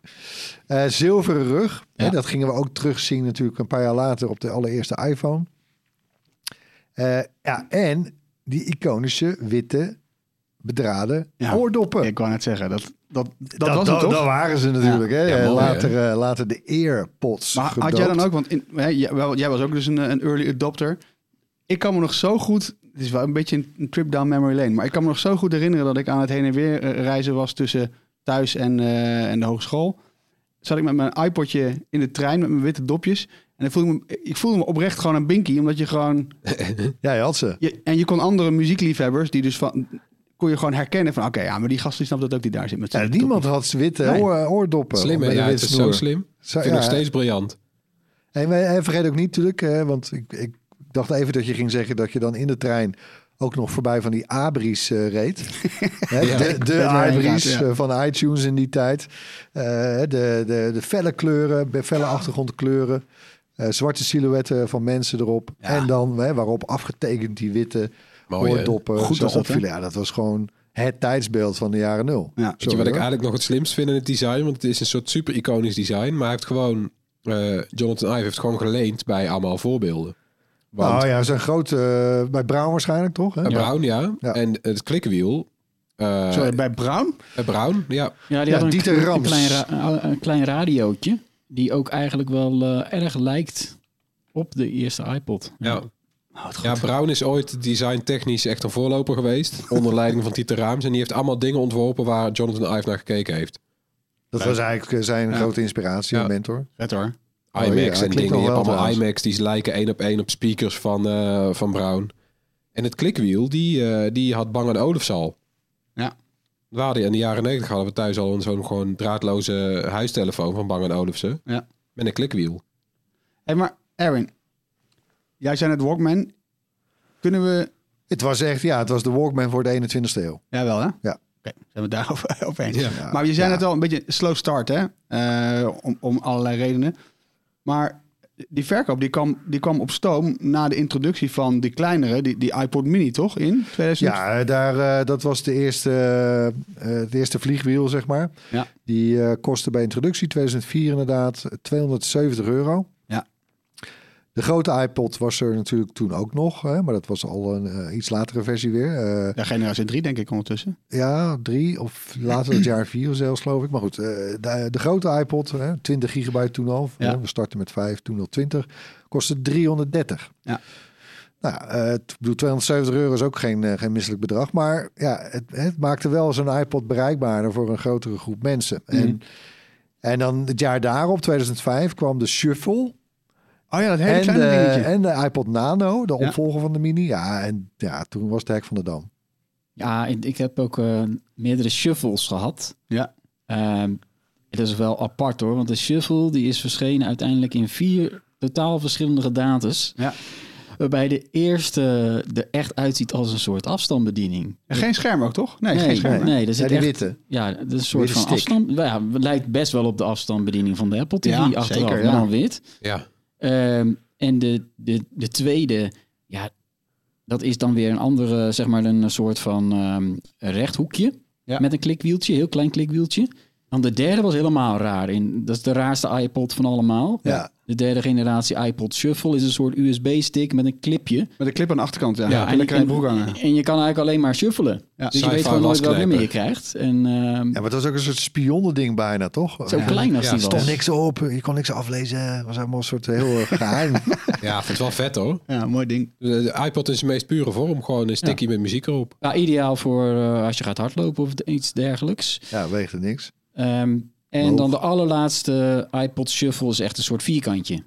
F: Eh, zilveren rug. Hè, dat gingen we ook terugzien natuurlijk een paar jaar later op de allereerste iPhone. Eh, ja, en die iconische witte bedraden
C: Ja.
F: oordoppen.
C: Ik wou net zeggen, dat, dat, dat, was
F: dat,
C: het toch?
F: dat waren ze natuurlijk. Hè?
D: Ja, mooi,
F: later, eh, later de earpods
C: Maar had
F: gedoopt.
C: jij dan ook, want in, hè, jij, wel, jij was ook dus een, eh, een early adopter. Ik kan me nog zo goed, het is wel een beetje een, een trip down memory lane, maar ik kan me nog zo goed herinneren dat ik aan het heen en weer eh, reizen was tussen thuis en, eh, en de hogeschool. zat ik met mijn iPodje in de trein met mijn witte dopjes. En dan voelde ik, me, ik voelde me oprecht gewoon een binky, omdat je gewoon...
F: ja, je had ze.
C: Je- en je kon andere muziekliefhebbers, die dus van... Kon je gewoon herkennen van, oké, ja, maar die gast die snapt dat ook die daar zit met zijn
F: Ja, niemand had ze witte
C: Nee.
F: oor- oordoppen.
D: Slim, hè?
F: met een
D: Ja, het
F: witte
D: is zo
F: snoer.
D: slim.
F: Zo-
D: Ik vind het
F: ja.
D: nog steeds briljant.
F: En, wij- en eh, vergeet ook niet natuurlijk, hè, want ik, ik dacht even dat je ging zeggen dat je dan in de trein ook nog voorbij van die Abris eh, reed. Hè,
D: Ja,
F: de
D: ik
F: de
D: weet waar je
F: Abris
D: gaat, ja.
F: eh, van iTunes in die tijd. Eh, de, de, de felle kleuren, be- felle achtergrondkleuren. eh, zwarte silhouetten van mensen erop. En dan hè, waarop afgetekend die witte
D: Mooi, hè?
F: oordoppen
D: Goed
F: zo
D: was dat, hè?
F: opvielen. Ja, dat was gewoon het tijdsbeeld van de jaren nul. Ja,
D: Weet je wat ik eigenlijk nog het slimst vind in het design? Want het is een soort super iconisch design. Maar hij heeft gewoon... eh, Jonathan Ive heeft gewoon geleend bij allemaal voorbeelden. Want
F: Nou ja, zo'n grote... eh, bij Brown waarschijnlijk, toch? Hè?
D: eh, Brown, ja. En het klikwiel... eh,
C: Sorry, bij Brown?
D: bij Brown, ja.
H: Ja, die had een, kle- een klein, ra- een klein radiootje. Die ook eigenlijk wel eh, erg lijkt op de eerste iPod.
D: Ja. ja, Brown is ooit designtechnisch echt een voorloper geweest. Onder leiding van Tieter Raams. En die heeft allemaal dingen ontworpen waar Jonathan Ive naar gekeken heeft.
F: Dat was eigenlijk eh, zijn
D: Ja.
F: grote inspiratie en mentor.
C: Vet hoor.
F: Oh,
D: IMAX
F: ja,
D: en
F: hij klinkt
D: dingen. Je
F: nog
D: hebt
F: wel
D: allemaal
F: trouwens.
D: IMAX, die lijken één op één op speakers van, eh, van Brown. En het klikwiel, die, eh, die had Bang Olufsen al.
C: Ja.
D: We hadden in de jaren negentig hadden we thuis al een zo'n gewoon draadloze huistelefoon van Bang Olufsen.
C: Ja.
D: Met een klikwiel.
C: Hé, maar Erwin, jij zei net Walkman. Kunnen we...
F: Het was echt, ja, het was de Walkman voor de 21ste eeuw.
C: Jawel, hè?
F: Ja.
C: Oké, zijn we daar over, over eens.
F: Ja.
C: Maar je zei net al, een beetje slow start, hè? Eh, om, om allerlei redenen. Maar die verkoop die kwam, die kwam op stoom na de introductie van die kleinere, die, die iPod Mini, toch? In 2000?
F: Ja, eh, daar, eh, dat was de eerste, eh, het eerste vliegwiel, zeg maar.
C: Ja.
F: Die eh, kostte bij introductie 2004 inderdaad 270 euro.
C: Ja.
F: De grote iPod was er natuurlijk toen ook nog, hè, maar dat was al een eh, iets latere versie weer. Eh,
C: Ja, generatie 3 denk ik ondertussen.
F: ja, drie of later het jaar vier zelfs, geloof ik. Maar goed, eh, de, de grote iPod, hè, 20 gigabyte toen al.
C: Ja.
F: hè, we starten met 5, toen al 20. Kostte 330.
C: Ja.
F: Nou, eh, t- ik bedoel, 270 euro is ook geen, eh, geen misselijk bedrag. Maar ja, het, het maakte wel zo'n iPod bereikbaarder voor een grotere groep mensen.
C: Mhm.
F: En, en dan het jaar daarop, 2005, kwam de Shuffle.
C: Oh ja, dat hele
F: En
C: kleine
F: de,
C: dingetje.
F: en de iPod Nano, de
H: Ja.
F: opvolger van de Mini. Ja, en ja, toen was het hek van de dam.
H: Ja, ik, ik heb ook eh, meerdere shuffles gehad.
C: Ja.
H: Ehm, het is wel apart hoor, want de shuffle die is verschenen uiteindelijk in vier totaal verschillende gedates.
C: Ja.
H: Waarbij de eerste er echt uitziet als een soort afstandsbediening.
C: En Geen scherm ook, toch? Nee, geen
H: nee,
C: scherm. hè?
H: nee, er
F: Ja,
H: zit
F: die
H: echt-
F: witte.
H: Ja, dat is een soort
F: Witte
H: van
F: stick.
H: afstand. Ja, het lijkt best wel op de afstandsbediening van de Apple TV
C: Ja,
H: achteraf,
C: zeker, ja.
H: maar dan wit.
D: Ja.
H: Ehm, en de, de, de tweede, ja, dat is dan weer een andere, zeg maar een soort van ehm, rechthoekje
C: Ja.
H: met een klikwieltje, heel klein klikwieltje. Dan de derde was helemaal raar. In, dat is de raarste iPod van allemaal.
F: Ja.
H: De derde generatie iPod Shuffle is een soort USB-stick met een clipje.
C: Met een clip aan de achterkant, ja.
H: Ja,
C: en lekker in de broek hangen.
H: En je kan eigenlijk alleen maar shuffelen. Dus je
D: Sci-fi
H: weet gewoon nooit welk
D: wasknijper.
H: nummer je krijgt. En, ehm,
F: Ja, maar het was ook een soort spionnending bijna, toch?
H: Zo klein als
F: ja.
H: die was.
F: stond niks op, je kon niks aflezen. Het was allemaal een soort heel eh, geheim.
D: Ja, ik vind het wel vet hoor.
C: Ja, mooi ding.
D: De Dus, eh, de iPod in zijn meest pure vorm. Gewoon een sticky met muziek erop.
H: ja, ideaal voor eh, als je gaat hardlopen of iets dergelijks.
F: ja, weegde niks.
H: Ehm, en
F: Hoog.
H: dan de allerlaatste iPod Shuffle is echt een soort vierkantje.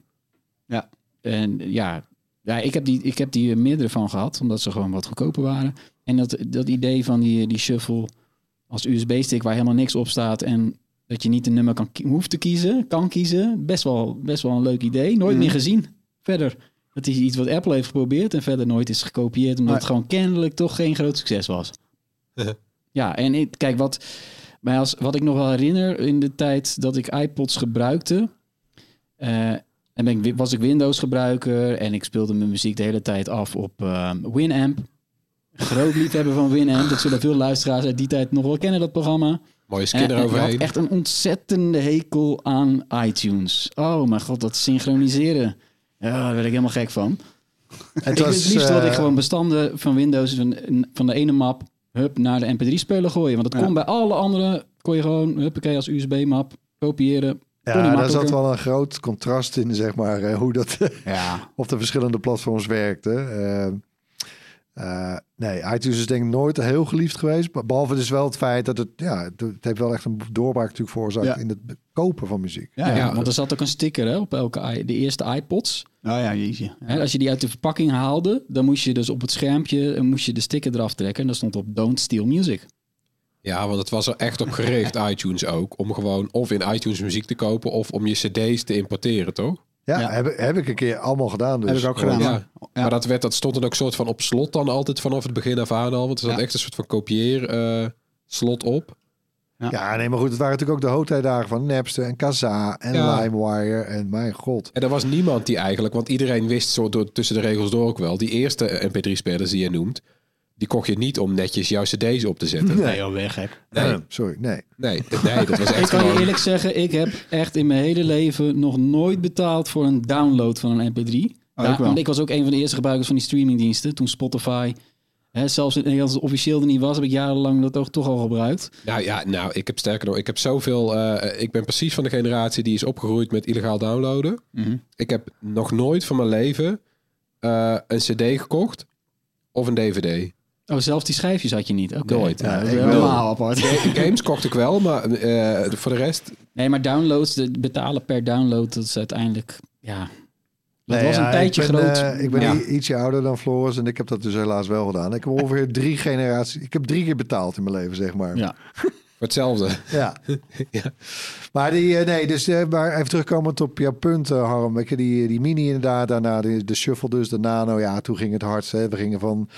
C: Ja.
H: En ja, ja ik, heb die, ik heb die eh, meerdere van gehad, omdat ze gewoon wat goedkoper waren. En dat, dat idee van die, die Shuffle als USB-stick waar helemaal niks op staat en dat je niet een nummer kan, ki- hoeft te kiezen, kan kiezen, best wel, best wel een leuk idee. Nooit meer gezien. Verder. Het is iets wat Apple heeft geprobeerd en verder nooit is gekopieerd, omdat
C: Maar-
H: het gewoon kennelijk toch geen groot succes was. Ja, en ik, kijk, wat, maar als, wat ik nog wel herinner in de tijd dat ik iPods gebruikte. eh, en ben ik, wi- was ik Windows gebruiker en ik speelde mijn muziek de hele tijd af op eh, Winamp. Groot liefhebber van Winamp. Dat zullen veel luisteraars uit die tijd nog wel kennen, dat programma.
D: Mooie skin
H: En, en ik had
D: eroverheen.
H: echt een ontzettende hekel aan iTunes. Oh mijn god, dat synchroniseren. Ja, daar werd ik helemaal gek van.
F: Het
H: ik het liefst wilde ik
F: eh,
H: gewoon bestanden van Windows van, van de ene map hup, naar de mp3-speler gooien. Want dat kon bij alle andere, kon je gewoon huppakee als USB-map kopiëren. Kon niet
F: Ja, daar
H: makkelijker.
F: zat wel een groot contrast in, zeg maar, eh, hoe dat
C: Ja.
F: op de verschillende platforms werkte. Eh, Eh, nee, iTunes is denk ik nooit heel geliefd geweest. be- Behalve dus wel het feit dat het... Ja, het, het heeft wel echt een doorbraak natuurlijk veroorzaakt
H: Ja.
F: in het be- kopen van muziek.
H: Ja, ja, want er zat ook een sticker hè, op elke i- de eerste iPods.
C: Nou ja, jeetje.
H: Hè, als je die uit de verpakking haalde, dan moest je dus op het schermpje en moest je de sticker eraf trekken. En daar stond op Don't Steal Music.
D: Ja, want het was er echt op gericht, iTunes ook. Om gewoon of in iTunes muziek te kopen of om je cd's te importeren, toch?
F: Ja, Heb, ik- heb ik een keer allemaal gedaan. Dus.
D: Ja. Maar dat, werd, dat stond dan ook soort van op slot dan altijd vanaf het begin af aan al. Want er zat echt een soort van kopieer eh, slot op.
F: Ja. nee, maar goed, het waren natuurlijk ook de hoogtijdagen van Napster en Kazaa en
D: Ja.
F: LimeWire en mijn god.
D: En er was niemand die eigenlijk, want iedereen wist zo door, tussen de regels door ook wel, die eerste MP3-spelers die je noemt, die kocht je niet om netjes jouw cd's op te zetten.
F: Nee,
H: joh, weg hè.
D: Nee,
F: sorry, nee.
D: Nee, d- nee, dat was
H: ik
D: echt
H: kan je
D: gewoon...
H: eerlijk zeggen, ik heb echt in mijn hele leven nog nooit betaald voor een download van een MP3.
C: Oh, ik wel.
H: want ik was ook een van de eerste gebruikers van die streamingdiensten. Toen Spotify, hè, zelfs in Nederland officieel er niet was, heb ik jarenlang dat ook toch al gebruikt.
D: Nou ja, nou, ik heb sterker nog, ik heb zoveel... eh, ik ben precies van de generatie die is opgegroeid met illegaal downloaden.
H: Mhm.
D: Ik heb nog nooit van mijn leven eh, een cd gekocht of een dvd.
H: Oh, zelfs die schijfjes had je niet? Oké.
D: Nooit.
H: Ja, dat is
D: Ik
H: helemaal
D: wel.
H: apart.
D: Ga- Games kocht ik wel, maar eh, voor de rest...
H: Nee, maar downloads, de betalen per download, dat is uiteindelijk, ja... Dat
F: Nee,
H: was een
F: ja,
H: tijdje
F: ik ben,
H: groot.
F: eh, ik ben
H: Ja.
F: i- ietsje ouder dan Floris en ik heb dat dus helaas wel gedaan. Ik heb ongeveer drie generaties. Ik heb drie keer betaald in mijn leven, zeg maar.
H: Ja.
D: Voor hetzelfde.
F: Ja. Maar die, eh, nee, dus eh, maar even terugkomend op jouw punt, eh, Harm. Weet je, die, die mini inderdaad, daarna de, de shuffle dus, de nano. Ja, toen ging het hard. Hè. We gingen van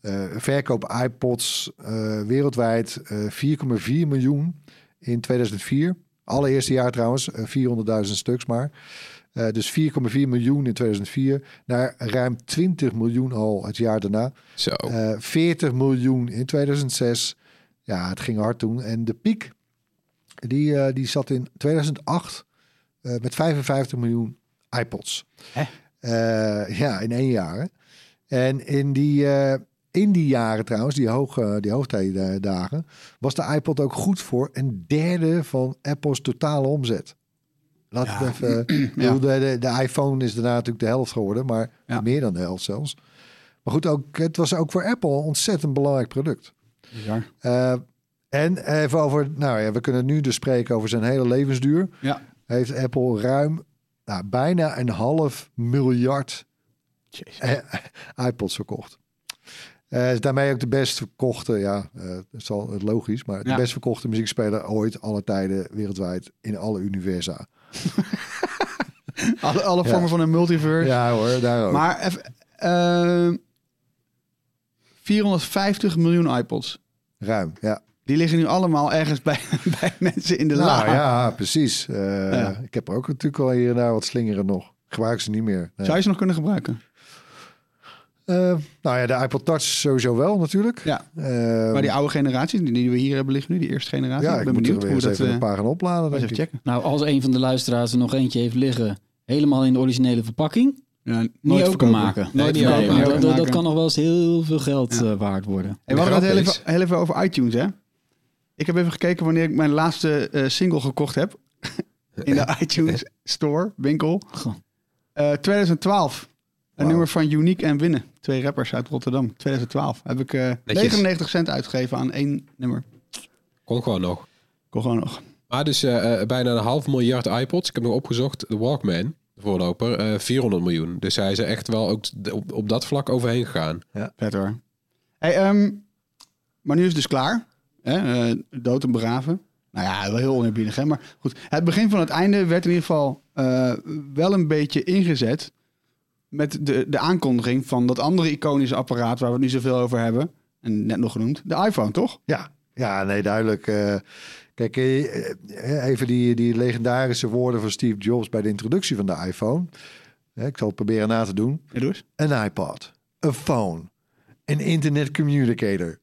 F: eh, verkoop iPods eh, wereldwijd eh, 4,4 miljoen in 2004. Allereerste jaar trouwens, eh, 400.000 stuks maar. Eh, dus 4,4 miljoen in 2004 naar ruim 20 miljoen al het jaar daarna.
D: Zo.
F: Eh, 40 miljoen in 2006. Ja, het ging hard toen. En de piek, die, eh, die zat in 2008 eh, met 55 miljoen iPods. Eh, ja, in één jaar. hè. En in die, eh, in die jaren trouwens, die, hoog, eh, die hoogtijdagen, was de iPod ook goed voor een derde van Apple's totale omzet. Laat het even. ik bedoel, de, de, de iPhone is daarna natuurlijk de helft geworden, maar meer dan de helft zelfs. Maar goed, ook, het was ook voor Apple een ontzettend belangrijk product. Eh, en even over, nou ja, we kunnen nu dus spreken over zijn hele levensduur.
C: Ja.
F: Heeft Apple ruim, nou, bijna een half miljard eh, iPods verkocht. Eh, is daarmee ook de best verkochte, ja, eh, dat is al logisch, maar de
C: Ja.
F: best verkochte muziekspeler ooit, alle tijden, wereldwijd, in alle universa.
C: Alle, alle
F: Ja.
C: vormen van een multiverse.
F: Ja hoor, daar ook.
C: Dus- Maar even, eh, 450 miljoen iPods.
F: Ruim, ja.
C: Die liggen nu allemaal ergens bij, bij mensen in de
F: nou
C: la.
F: ja, precies. Eh,
C: Ja.
F: Ik heb er ook natuurlijk al hier en daar wat slingeren nog. Ik Gebruik ze niet meer. Nee.
C: Zou je ze nog kunnen
F: Ehm.
C: gebruiken?
F: Eh, nou ja, de iPod Touch sowieso wel natuurlijk.
C: Ja.
F: Eh,
C: maar die oude generatie, die, die we hier hebben liggen nu, die eerste generatie.
F: ja,
C: ik
F: ik
C: ben
F: moet er
C: benieuwd
F: weer
C: hoe
F: eens even
C: dat... eh,
F: een paar gaan opladen,
C: eens
F: denk
C: even
F: ik.
C: checken.
H: Nou, als een van de luisteraars er nog eentje heeft liggen, helemaal in de originele verpakking,
C: Ja,
H: niet
C: nooit
H: open
C: verkopen.
H: maken.
C: Nee, niet
H: verkopen. maar
C: openmaken.
H: dat- Dat, dat
C: Maken.
H: kan nog wel eens heel veel geld eh, waard worden.
C: Hey, we hadden het heel even, heel even over iTunes, hè? Ik heb even gekeken wanneer ik mijn laatste eh, single gekocht heb. In de iTunes Store, winkel. Eh, 2012. Een nummer van Unique en Winnen. Twee rappers uit Rotterdam. 2012. Heb ik eh, 99 cent uitgegeven aan één nummer.
D: Kon gewoon nog.
C: Kon gewoon nog.
D: Maar dus eh, eh, bijna een half miljard iPods. Ik heb nog opgezocht, de Walkman, de voorloper, eh 400 miljoen. Dus hij is er echt wel ook d- op, op dat vlak overheen gegaan.
C: Vet hoor. Hey, ehm, maar nu is het dus klaar. Hè? eh, dood en begraven. Nou ja, wel heel oneerbiedig, hè? Maar goed, het begin van het einde werd in ieder geval eh, wel een beetje ingezet... met de, de aankondiging van dat andere iconische apparaat... waar we het nu zoveel over hebben. En net nog genoemd, de iPhone, toch?
F: Ja, ja nee, duidelijk. eh, kijk, eh, eh, even die, die legendarische woorden van Steve Jobs bij de introductie van de iPhone. Eh, ik zal het proberen na te doen.
C: Ja, doe eens.
F: Een iPod, een phone, een internet communicator.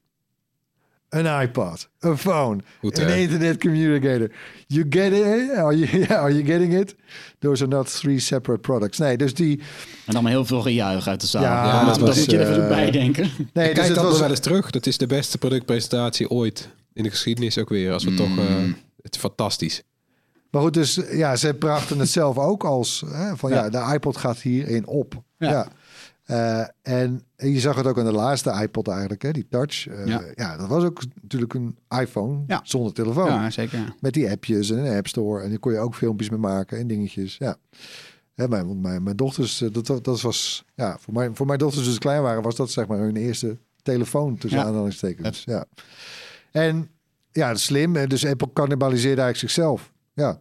F: Een iPod, een phone,
D: Goed,
F: een
D: hè?
F: internet communicator. You get it? Eh, Are you, yeah, are you getting it? Those are not three separate products. Nee, dus die...
H: En dan maar heel veel gejuich uit de zaal.
F: Ja,
H: Ja,
F: dat
H: dat
F: was,
H: moet je er even
F: eh,
H: bijdenken.
F: Nee,
D: Kijk
F: dus het
D: dat
F: was-
D: nog wel eens terug. Dat is de beste productpresentatie ooit in de geschiedenis ook weer. Als we toch... eh,
F: Mm.
D: het is fantastisch.
F: Maar goed, dus ja, ze brachten het zelf ook als hè, van ja. de iPod gaat hierin op. Ja. Eh, en je zag het ook aan de laatste iPod eigenlijk, hè, die touch. Eh,
C: Ja.
F: ja. dat was ook natuurlijk een iPhone
C: Ja.
F: zonder telefoon.
C: Ja, zeker, ja.
F: Oh. Met die appjes en een app store. En daar kon je ook filmpjes mee maken en dingetjes. Ja. Hè, mijn, want mijn, mijn dochters, eh, dat, wa- dat was, ja, voor mijn, voor mijn dochters toen ze klein waren, was dat zeg maar hun eerste telefoon tussen
C: Ja.
F: aanhalingstekens. Ja. En ja, dat is slim. En Dus Apple cannibaliseerde eigenlijk zichzelf. Ja.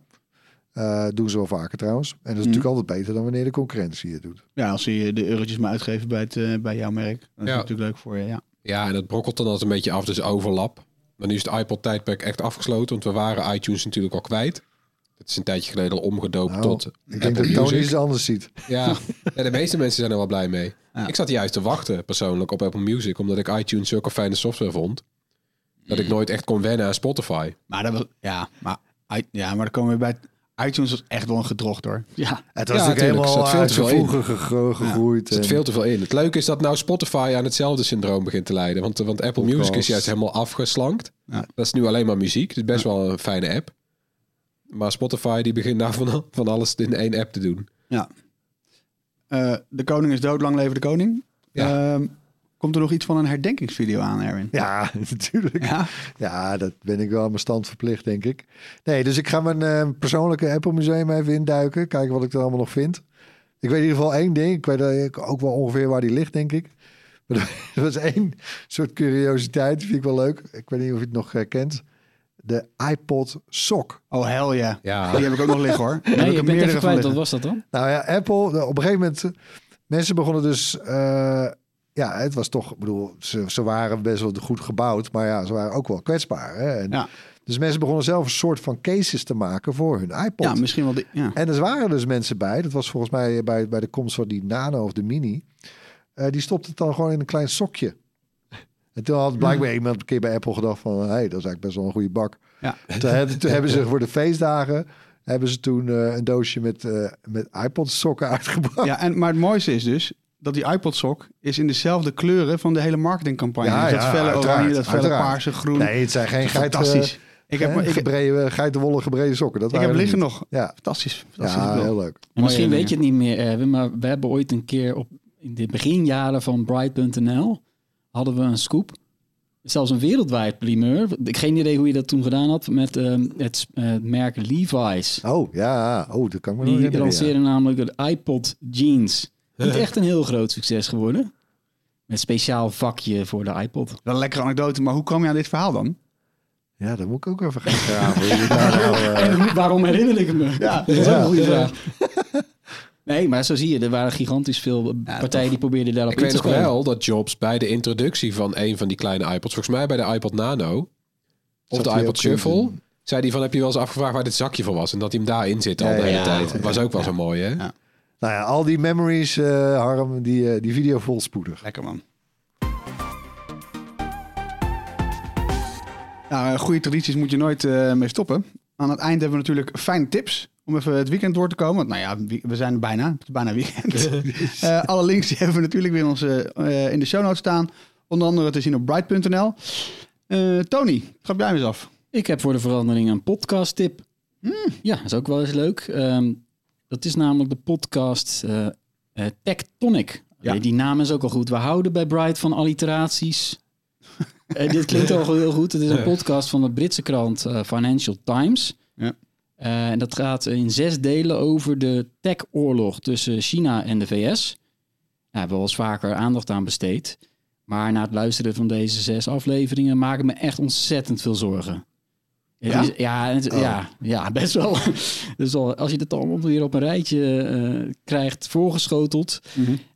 F: Eh, doen ze wel vaker trouwens. En dat
D: Mhm.
F: is natuurlijk altijd beter dan wanneer de concurrentie het doet.
C: Ja, als ze je de eurotjes maar uitgeven bij, het, eh, bij jouw merk. Dat is
D: Ja.
C: natuurlijk leuk voor je, ja.
D: Ja, en dat brokkelt dan altijd een beetje af, dus overlap. Maar nu is het iPod-tijdperk echt afgesloten, want we waren iTunes natuurlijk al kwijt. Dat is een tijdje geleden al omgedoopt
F: Nou,
D: tot
F: Ik denk
D: Apple
F: dat Tony
D: Music.
F: iets anders ziet.
D: Ja, ja, de meeste mensen zijn er wel blij mee. Ik zat juist te wachten persoonlijk op Apple Music, omdat ik iTunes zulke fijne software vond. Dat
F: Mm.
D: ik nooit echt kon wennen aan Spotify.
C: Maar, dat was, ja, maar, i- ja, maar dan komen we bij... het- iTunes was echt wel een gedrocht, hoor. Eh, Ja.
F: Het
D: Ja,
F: was natuurlijk
D: tuurlijk, er
F: helemaal
D: zat veel
F: veel
D: te veel in.
F: gegroeid.
D: Er zit
F: en-
D: veel te veel in. Het leuke is dat nou Spotify aan hetzelfde syndroom begint te lijden. Want, want Apple Music is
F: Podcast.
D: juist helemaal afgeslankt.
C: Ja.
D: Dat is nu alleen maar muziek. Het is best wel een fijne app. Maar Spotify die begint nou van, van alles in één app te doen.
C: Ja. Eh, de koning is dood, lang leven de koning. Ehm, komt er nog iets van een herdenkingsvideo aan, Erwin?
F: Ja, natuurlijk.
C: Ja?
F: Ja? dat ben ik wel aan mijn stand verplicht, denk ik. Nee, dus ik ga mijn eh, persoonlijke Apple Museum even induiken. Kijken wat ik er allemaal nog vind. Ik weet in ieder geval één ding. Ik weet eh, ook wel ongeveer waar die ligt, denk ik. Maar dat was één soort curiositeit. Vind ik wel leuk. Ik weet niet of je het nog eh, kent. De iPod Sock.
C: Oh, hell ja.
D: Ja.
C: Die heb ik ook nog liggen, hoor. Daar heb
H: Nee,
C: er
H: ik ben het
C: meerdere
H: even
C: van
H: kwijt. Wat
C: liggen.
H: was dat dan?
F: Nou ja, Apple, nou, op een gegeven moment, eh, mensen begonnen dus, eh, ja, het was toch, ik bedoel, ze, ze waren best wel goed gebouwd, maar ja, ze waren ook wel kwetsbaar. Hè? En,
C: Ja.
F: Dus mensen begonnen zelf een soort van cases te maken voor hun iPod.
C: Ja, misschien wel... die- ja.
F: En er waren dus mensen bij, dat was volgens mij bij, bij de komst van die Nano of de Mini, eh, die stopte het dan gewoon in een klein sokje. En toen had blijkbaar iemand een keer bij Apple gedacht van... hé, hey, dat is eigenlijk best wel een goede bak.
C: Ja.
F: Toen hebben, toen hebben ze voor de feestdagen... hebben ze toen eh, een doosje met, eh, met iPod-sokken uitgebracht.
C: Ja, en, maar het mooiste is dus dat die iPod sok is in dezelfde kleuren van de hele marketingcampagne.
F: Ja,
C: dus dat
F: ja,
C: felle
F: uiteraard,
C: oranje, dat felle
F: uiteraard.
C: paarse, groen.
F: Nee, het zijn geen geit,
C: Fantastisch.
F: eh,
C: ik heb,
F: hè,
C: ik, ik
F: gebrede, eh, geitenwolle gebrede sokken. Dat
C: heb
F: waren
C: liggen
F: het
C: nog.
F: niet. Ja,
C: Fantastisch. fantastisch
F: ja
C: spul.
F: heel leuk.
H: En misschien
C: Mooie
H: weet je het niet meer, Erwin, maar we hebben ooit een keer op in de beginjaren van Bright.nl hadden we een scoop. Zelfs een wereldwijd primeur. Ik heb geen idee hoe je dat toen gedaan had met ehm, het, eh, het merk Levi's.
F: Oh, ja. Oh, dat kan ik me nog
H: Die
F: herinneren, ja.
H: lanceren namelijk de iPod Jeans. Niet echt een heel groot succes geworden. Met speciaal vakje voor de iPod.
C: Wel een lekkere anekdote, maar hoe kwam je aan dit verhaal dan?
F: Ja, dat moet ik ook even gaan graven. hoe je daar nou, eh,
H: Waarom herinner ik het me?
C: Ja,
H: dat is ook een
F: Nou
H: goede
C: ja.
H: vraag. Nee, maar zo zie je, er waren gigantisch veel partijen die probeerden daarop
D: Ik
H: in
D: weet
H: te
D: nog
H: spelen.
D: wel dat Jobs bij de introductie van een van die kleine iPods, volgens mij bij de iPod Nano of
F: Zat
D: de
F: hij
D: iPod
F: ook in?
D: Shuffle, zei hij van heb je wel eens afgevraagd waar dit zakje voor was en dat hij hem daarin zit al
F: Ja,
D: de hele
F: ja,
D: tijd.
F: ja,
D: Dat was ook wel zo mooi hè?
F: nou ja, al die memories, eh, Harm, die, eh, die video vol spoedig.
C: Lekker man. Nou, eh, goede tradities moet je nooit eh, mee stoppen. Aan het eind hebben we natuurlijk fijne tips om even het weekend door te komen. Want nou ja, wie- we zijn er bijna. Het is bijna weekend. Eh, alle links die hebben we natuurlijk weer in, onze, eh, in de show notes staan. Onder andere te zien op bright.nl. Eh, Tony, trap jij hem eens af.
H: Ik heb voor de verandering een podcast tip. Ja, dat is ook wel eens leuk. Ehm, dat is namelijk de podcast eh eh, Tectonic.
C: Ja.
H: Nee, die naam is ook al goed. We houden bij Bright van alliteraties. Eh, dit klinkt al heel goed. Het is een podcast van de Britse krant eh, Financial Times.
C: Ja.
H: Eh, en dat gaat in zes delen over de tech-oorlog tussen China en de VS. Daar hebben we wel eens vaker aandacht aan besteed. Maar na het luisteren van deze zes afleveringen maak ik me echt ontzettend veel zorgen. Het
C: Ja?
H: is- ja, het-
F: Oh.
H: ja, ja, best wel. dus al- als je dat allemaal weer op een rijtje eh, krijgt voorgeschoteld.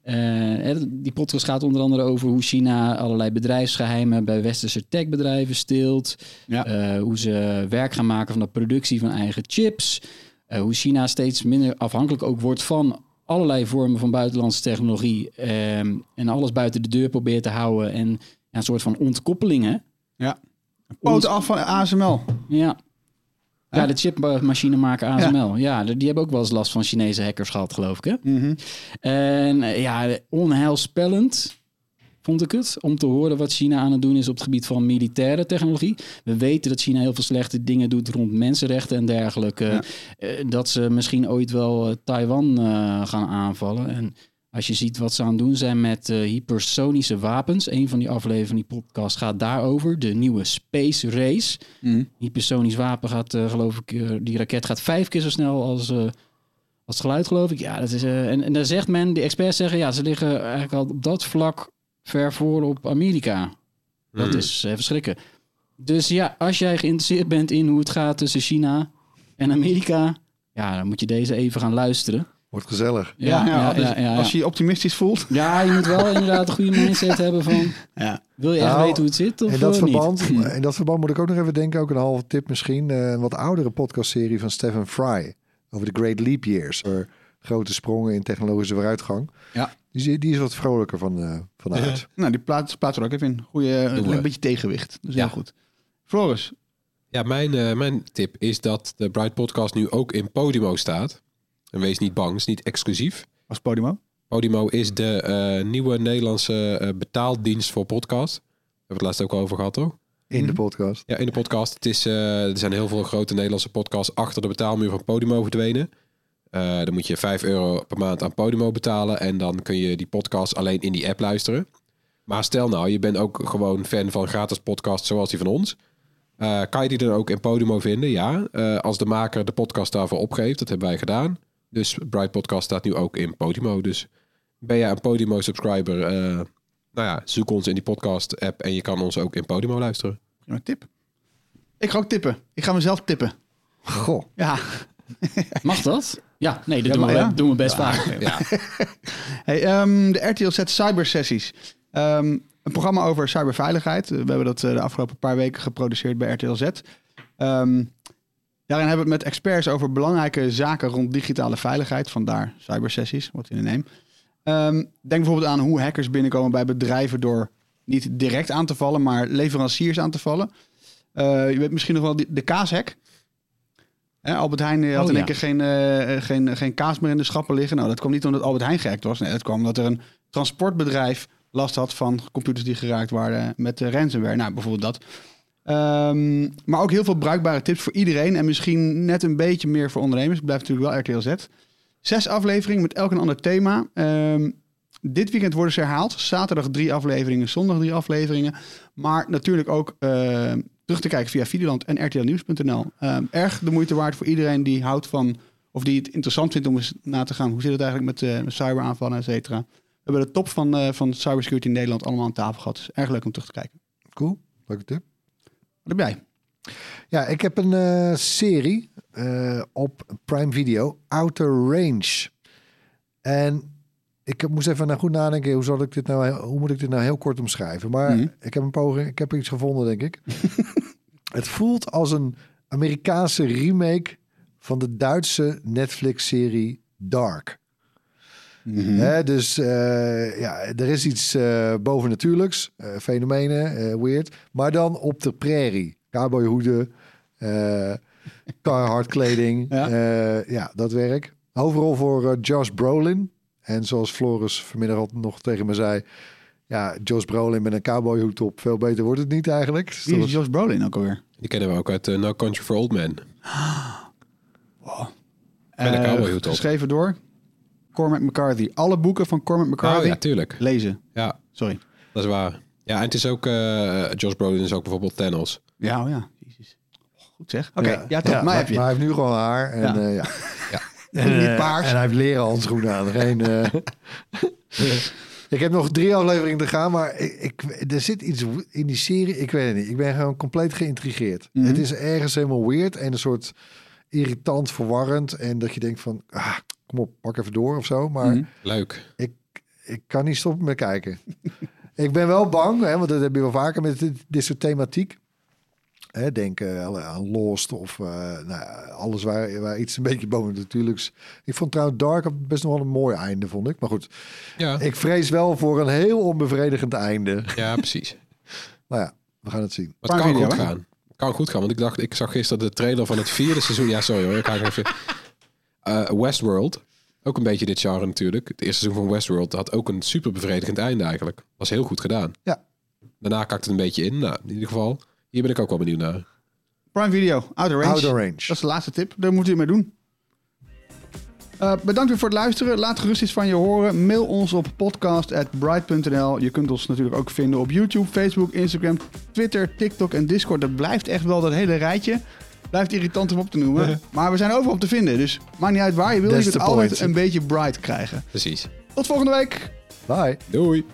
H: eh, hè, die podcast gaat onder andere over hoe China allerlei bedrijfsgeheimen bij westerse techbedrijven steelt.
C: Ja.
H: Eh, hoe ze werk gaan maken van de productie van eigen chips. Eh, hoe China steeds minder afhankelijk ook wordt van allerlei vormen van buitenlandse technologie. ehm, en alles buiten de deur probeert te houden. En ja, een soort van ontkoppelingen.
C: Poot af van ASML.
H: Ja. Ja, de chipmachinemaker ASML. Ja. die die hebben ook wel eens last van Chinese hackers gehad, geloof ik. Hè? En eh, ja, onheilspellend vond ik het om te horen wat China aan het doen is op het gebied van militaire technologie. We weten dat China heel veel slechte dingen doet rond mensenrechten en dergelijke. Eh, dat ze misschien ooit wel eh, Taiwan eh, gaan aanvallen. En Als je ziet wat ze aan het doen zijn met eh, hypersonische wapens. Een van die afleveringen van die podcast gaat daarover. De nieuwe Space Race. Hypersonisch wapen gaat, eh, geloof ik, eh, die raket gaat vijf keer zo snel als, eh, als het geluid, geloof ik. Ja, dat is, eh, en, en daar zegt men, de experts zeggen, ja, ze liggen eigenlijk al op dat vlak ver voor op Amerika. Dat
D: Hmm.
H: is eh, verschrikken. Dus ja, als jij geïnteresseerd bent in hoe het gaat tussen China en Amerika, ja, dan moet je deze even gaan luisteren.
F: Wordt gezellig.
H: Ja, ja, ja,
C: dus
H: ja, ja.
C: als je je optimistisch voelt.
H: Ja, je moet wel inderdaad een goede mindset hebben van... Wil je echt
F: Nou,
H: weten hoe het zit of
F: in dat,
H: eh, niet?
F: verband, in dat verband moet ik ook nog even denken, ook een halve tip misschien, eh, een wat oudere podcastserie van Stephen Fry over de Great Leap Years. Over grote sprongen in technologische vooruitgang.
C: Ja.
F: Die, is- die is wat vrolijker van, eh vanuit.
C: Nou, die plaats, plaatsen we er ook even in. Goeie,
D: Doen
C: een
D: we.
C: beetje tegenwicht. Dus
D: Ja.
C: heel goed. Floris.
D: Ja, mijn, eh, mijn tip is dat de Bright Podcast nu ook in Podimo staat. En wees niet bang, het is niet exclusief.
C: Als Podimo?
D: Podimo is de eh, nieuwe Nederlandse eh, betaaldienst voor podcast. We hebben het laatst ook al over gehad, toch?
F: In
H: Mhm.
F: de podcast.
D: Ja, in de podcast. Het is, eh, er zijn heel veel grote Nederlandse podcasts achter de betaalmuur van Podimo verdwenen. Eh, dan moet je 5 euro per maand aan Podimo betalen. En dan kun je die podcast alleen in die app luisteren. Maar stel nou, je bent ook gewoon fan van gratis podcasts zoals die van ons. Eh, kan je die dan ook in Podimo vinden? Ja. Eh, als de maker de podcast daarvoor opgeeft, dat hebben wij gedaan. Dus Bright Podcast staat nu ook in Podimo. Dus ben jij een Podimo-subscriber? eh, nou ja, zoek ons in die podcast-app en je kan ons ook in Podimo luisteren.
C: Prima tip. Ik ga ook tippen. Ik ga mezelf tippen.
F: Goh.
C: Ja.
H: Mag dat? Ja, nee, dat
C: Ja,
H: doen, we,
C: maar ja.
H: doen we best vaak.
C: Hey, ehm, de RTLZ Cybersessies. Ehm, een programma over cyberveiligheid. Eh, We hebben dat eh, de afgelopen paar weken geproduceerd bij RTLZ. Ehm, daarin hebben we het met experts over belangrijke zaken rond digitale veiligheid. Vandaar cybersessies, wat in de neem. Ehm, denk bijvoorbeeld aan hoe hackers binnenkomen bij bedrijven door niet direct aan te vallen, maar leveranciers aan te vallen. Eh, je weet misschien nog wel die- de kaashack. Hè, Albert Heijn eh, had
H: Oh,
C: in één
H: ja.
C: keer geen, eh, geen, geen kaas meer in de schappen liggen. Nou, dat kwam niet omdat Albert Heijn gehackt was. Nee, dat kwam omdat er een transportbedrijf last had van computers die geraakt waren met eh, ransomware. Nou, bijvoorbeeld dat. Ehm, maar ook heel veel bruikbare tips voor iedereen. En misschien net een beetje meer voor ondernemers. Het blijft natuurlijk wel RTLZ. Zes afleveringen met elk een ander thema. Ehm, dit weekend worden ze herhaald. Zaterdag drie afleveringen, zondag drie afleveringen. Maar natuurlijk ook eh, terug te kijken via Videoland en rtlnieuws.nl. Ehm, erg de moeite waard voor iedereen die houdt van... of die het interessant vindt om eens na te gaan... hoe zit het eigenlijk met, eh, met cyberaanvallen, et cetera. We hebben de top van, eh, van cybersecurity in Nederland allemaal aan tafel gehad. Dus erg leuk om terug te kijken.
F: Cool, leuke tip.
C: Wat heb jij?
F: Ja, ik heb een eh, serie eh, op Prime Video, Outer Range. En ik moest even naar goed nadenken, hoe, zal ik dit nou, hoe moet ik dit nou heel kort omschrijven? Maar
C: Mhm.
F: ik heb een poging, ik heb iets gevonden, denk ik. Het voelt als een Amerikaanse remake van de Duitse Netflix-serie Dark.
C: Mhm.
F: Hè, dus eh, ja, er is iets eh, bovennatuurlijks, eh, fenomenen, eh, weird. Maar dan op de prairie. Cowboyhoeden, eh Carhartt kleding. Ja. ja, dat werk. Overal voor eh, Josh Brolin. En zoals Floris vanmiddag al nog tegen me zei... Ja, Josh Brolin met een cowboyhoed op. Veel beter wordt het niet eigenlijk. Dus
C: Wie
F: dat
C: is
F: is-
C: Josh Brolin ook alweer?
D: Die kennen we ook uit eh, No Country for Old Men. Met een
C: Eh,
D: cowboyhoed op.
C: geschreven door Cormac McCarthy. Alle boeken van Cormac McCarthy
D: Oh ja, tuurlijk.
C: lezen.
D: Ja,
C: Sorry.
D: dat is waar. Ja, en het is ook... eh Josh Brolin is ook bijvoorbeeld Thanos.
C: Ja, oh ja. Jezus. Goed zeg. Oké, ja, top.
F: Ja,
C: maar heb je.
F: hij heeft nu gewoon haar. En,
C: Ja.
F: ja. ja.
C: En niet
F: eh,
C: paars.
F: En hij heeft leren handschoenen aan. Geen, eh. ik heb nog drie afleveringen te gaan, maar ik, ik- er zit iets in die serie. Ik weet het niet. Ik ben gewoon compleet geïntrigeerd.
C: Mhm.
F: Het is ergens helemaal weird en een soort irritant, verwarrend. En dat je denkt van, ah, kom op, pak even door of zo. Maar
C: Mhm.
D: Leuk.
F: ik, ik kan niet stoppen met kijken. ik ben wel bang, hè, want dat heb je wel vaker met dit, dit soort thematiek. Hè, denk eh, alle- aan Lost of eh, nou, ja, alles waar, waar iets een beetje boven natuurlijks. Ik vond trouwens Dark best nog wel een mooi einde, vond ik. Maar goed,
D: Ja,
F: ik vrees wel voor een heel onbevredigend einde.
D: ja precies.
F: nou ja, we gaan het zien.
D: Maar het kan
C: video,
D: goed
C: hè?
D: gaan. Het kan goed gaan, want ik dacht... Ik zag gisteren de trailer van het vierde seizoen... Ja, sorry hoor, ik ga even... Eh, Westworld. Ook een beetje dit genre natuurlijk. Het eerste seizoen van Westworld had ook een super bevredigend einde eigenlijk. Was heel goed gedaan.
F: Ja.
D: Daarna kakt het een beetje in. Nou, in ieder geval, hier ben ik ook wel benieuwd naar.
C: Prime Video, Outer Range.
F: Outer Range.
C: Dat is de laatste tip. Daar moet u mee doen. Eh, bedankt weer voor het luisteren. Laat gerust iets van je horen. Mail ons op podcast.bright.nl. Je kunt ons natuurlijk ook vinden op YouTube, Facebook, Instagram, Twitter, TikTok en Discord. Dat blijft echt wel dat hele rijtje. Blijft irritant om op te noemen. Maar we zijn overal op te vinden. Dus maakt niet uit waar je wil. Je
F: That's
C: kunt
F: the
C: altijd
F: point.
C: een beetje bright krijgen.
D: Precies.
C: Tot volgende week.
F: Bye.
D: Doei.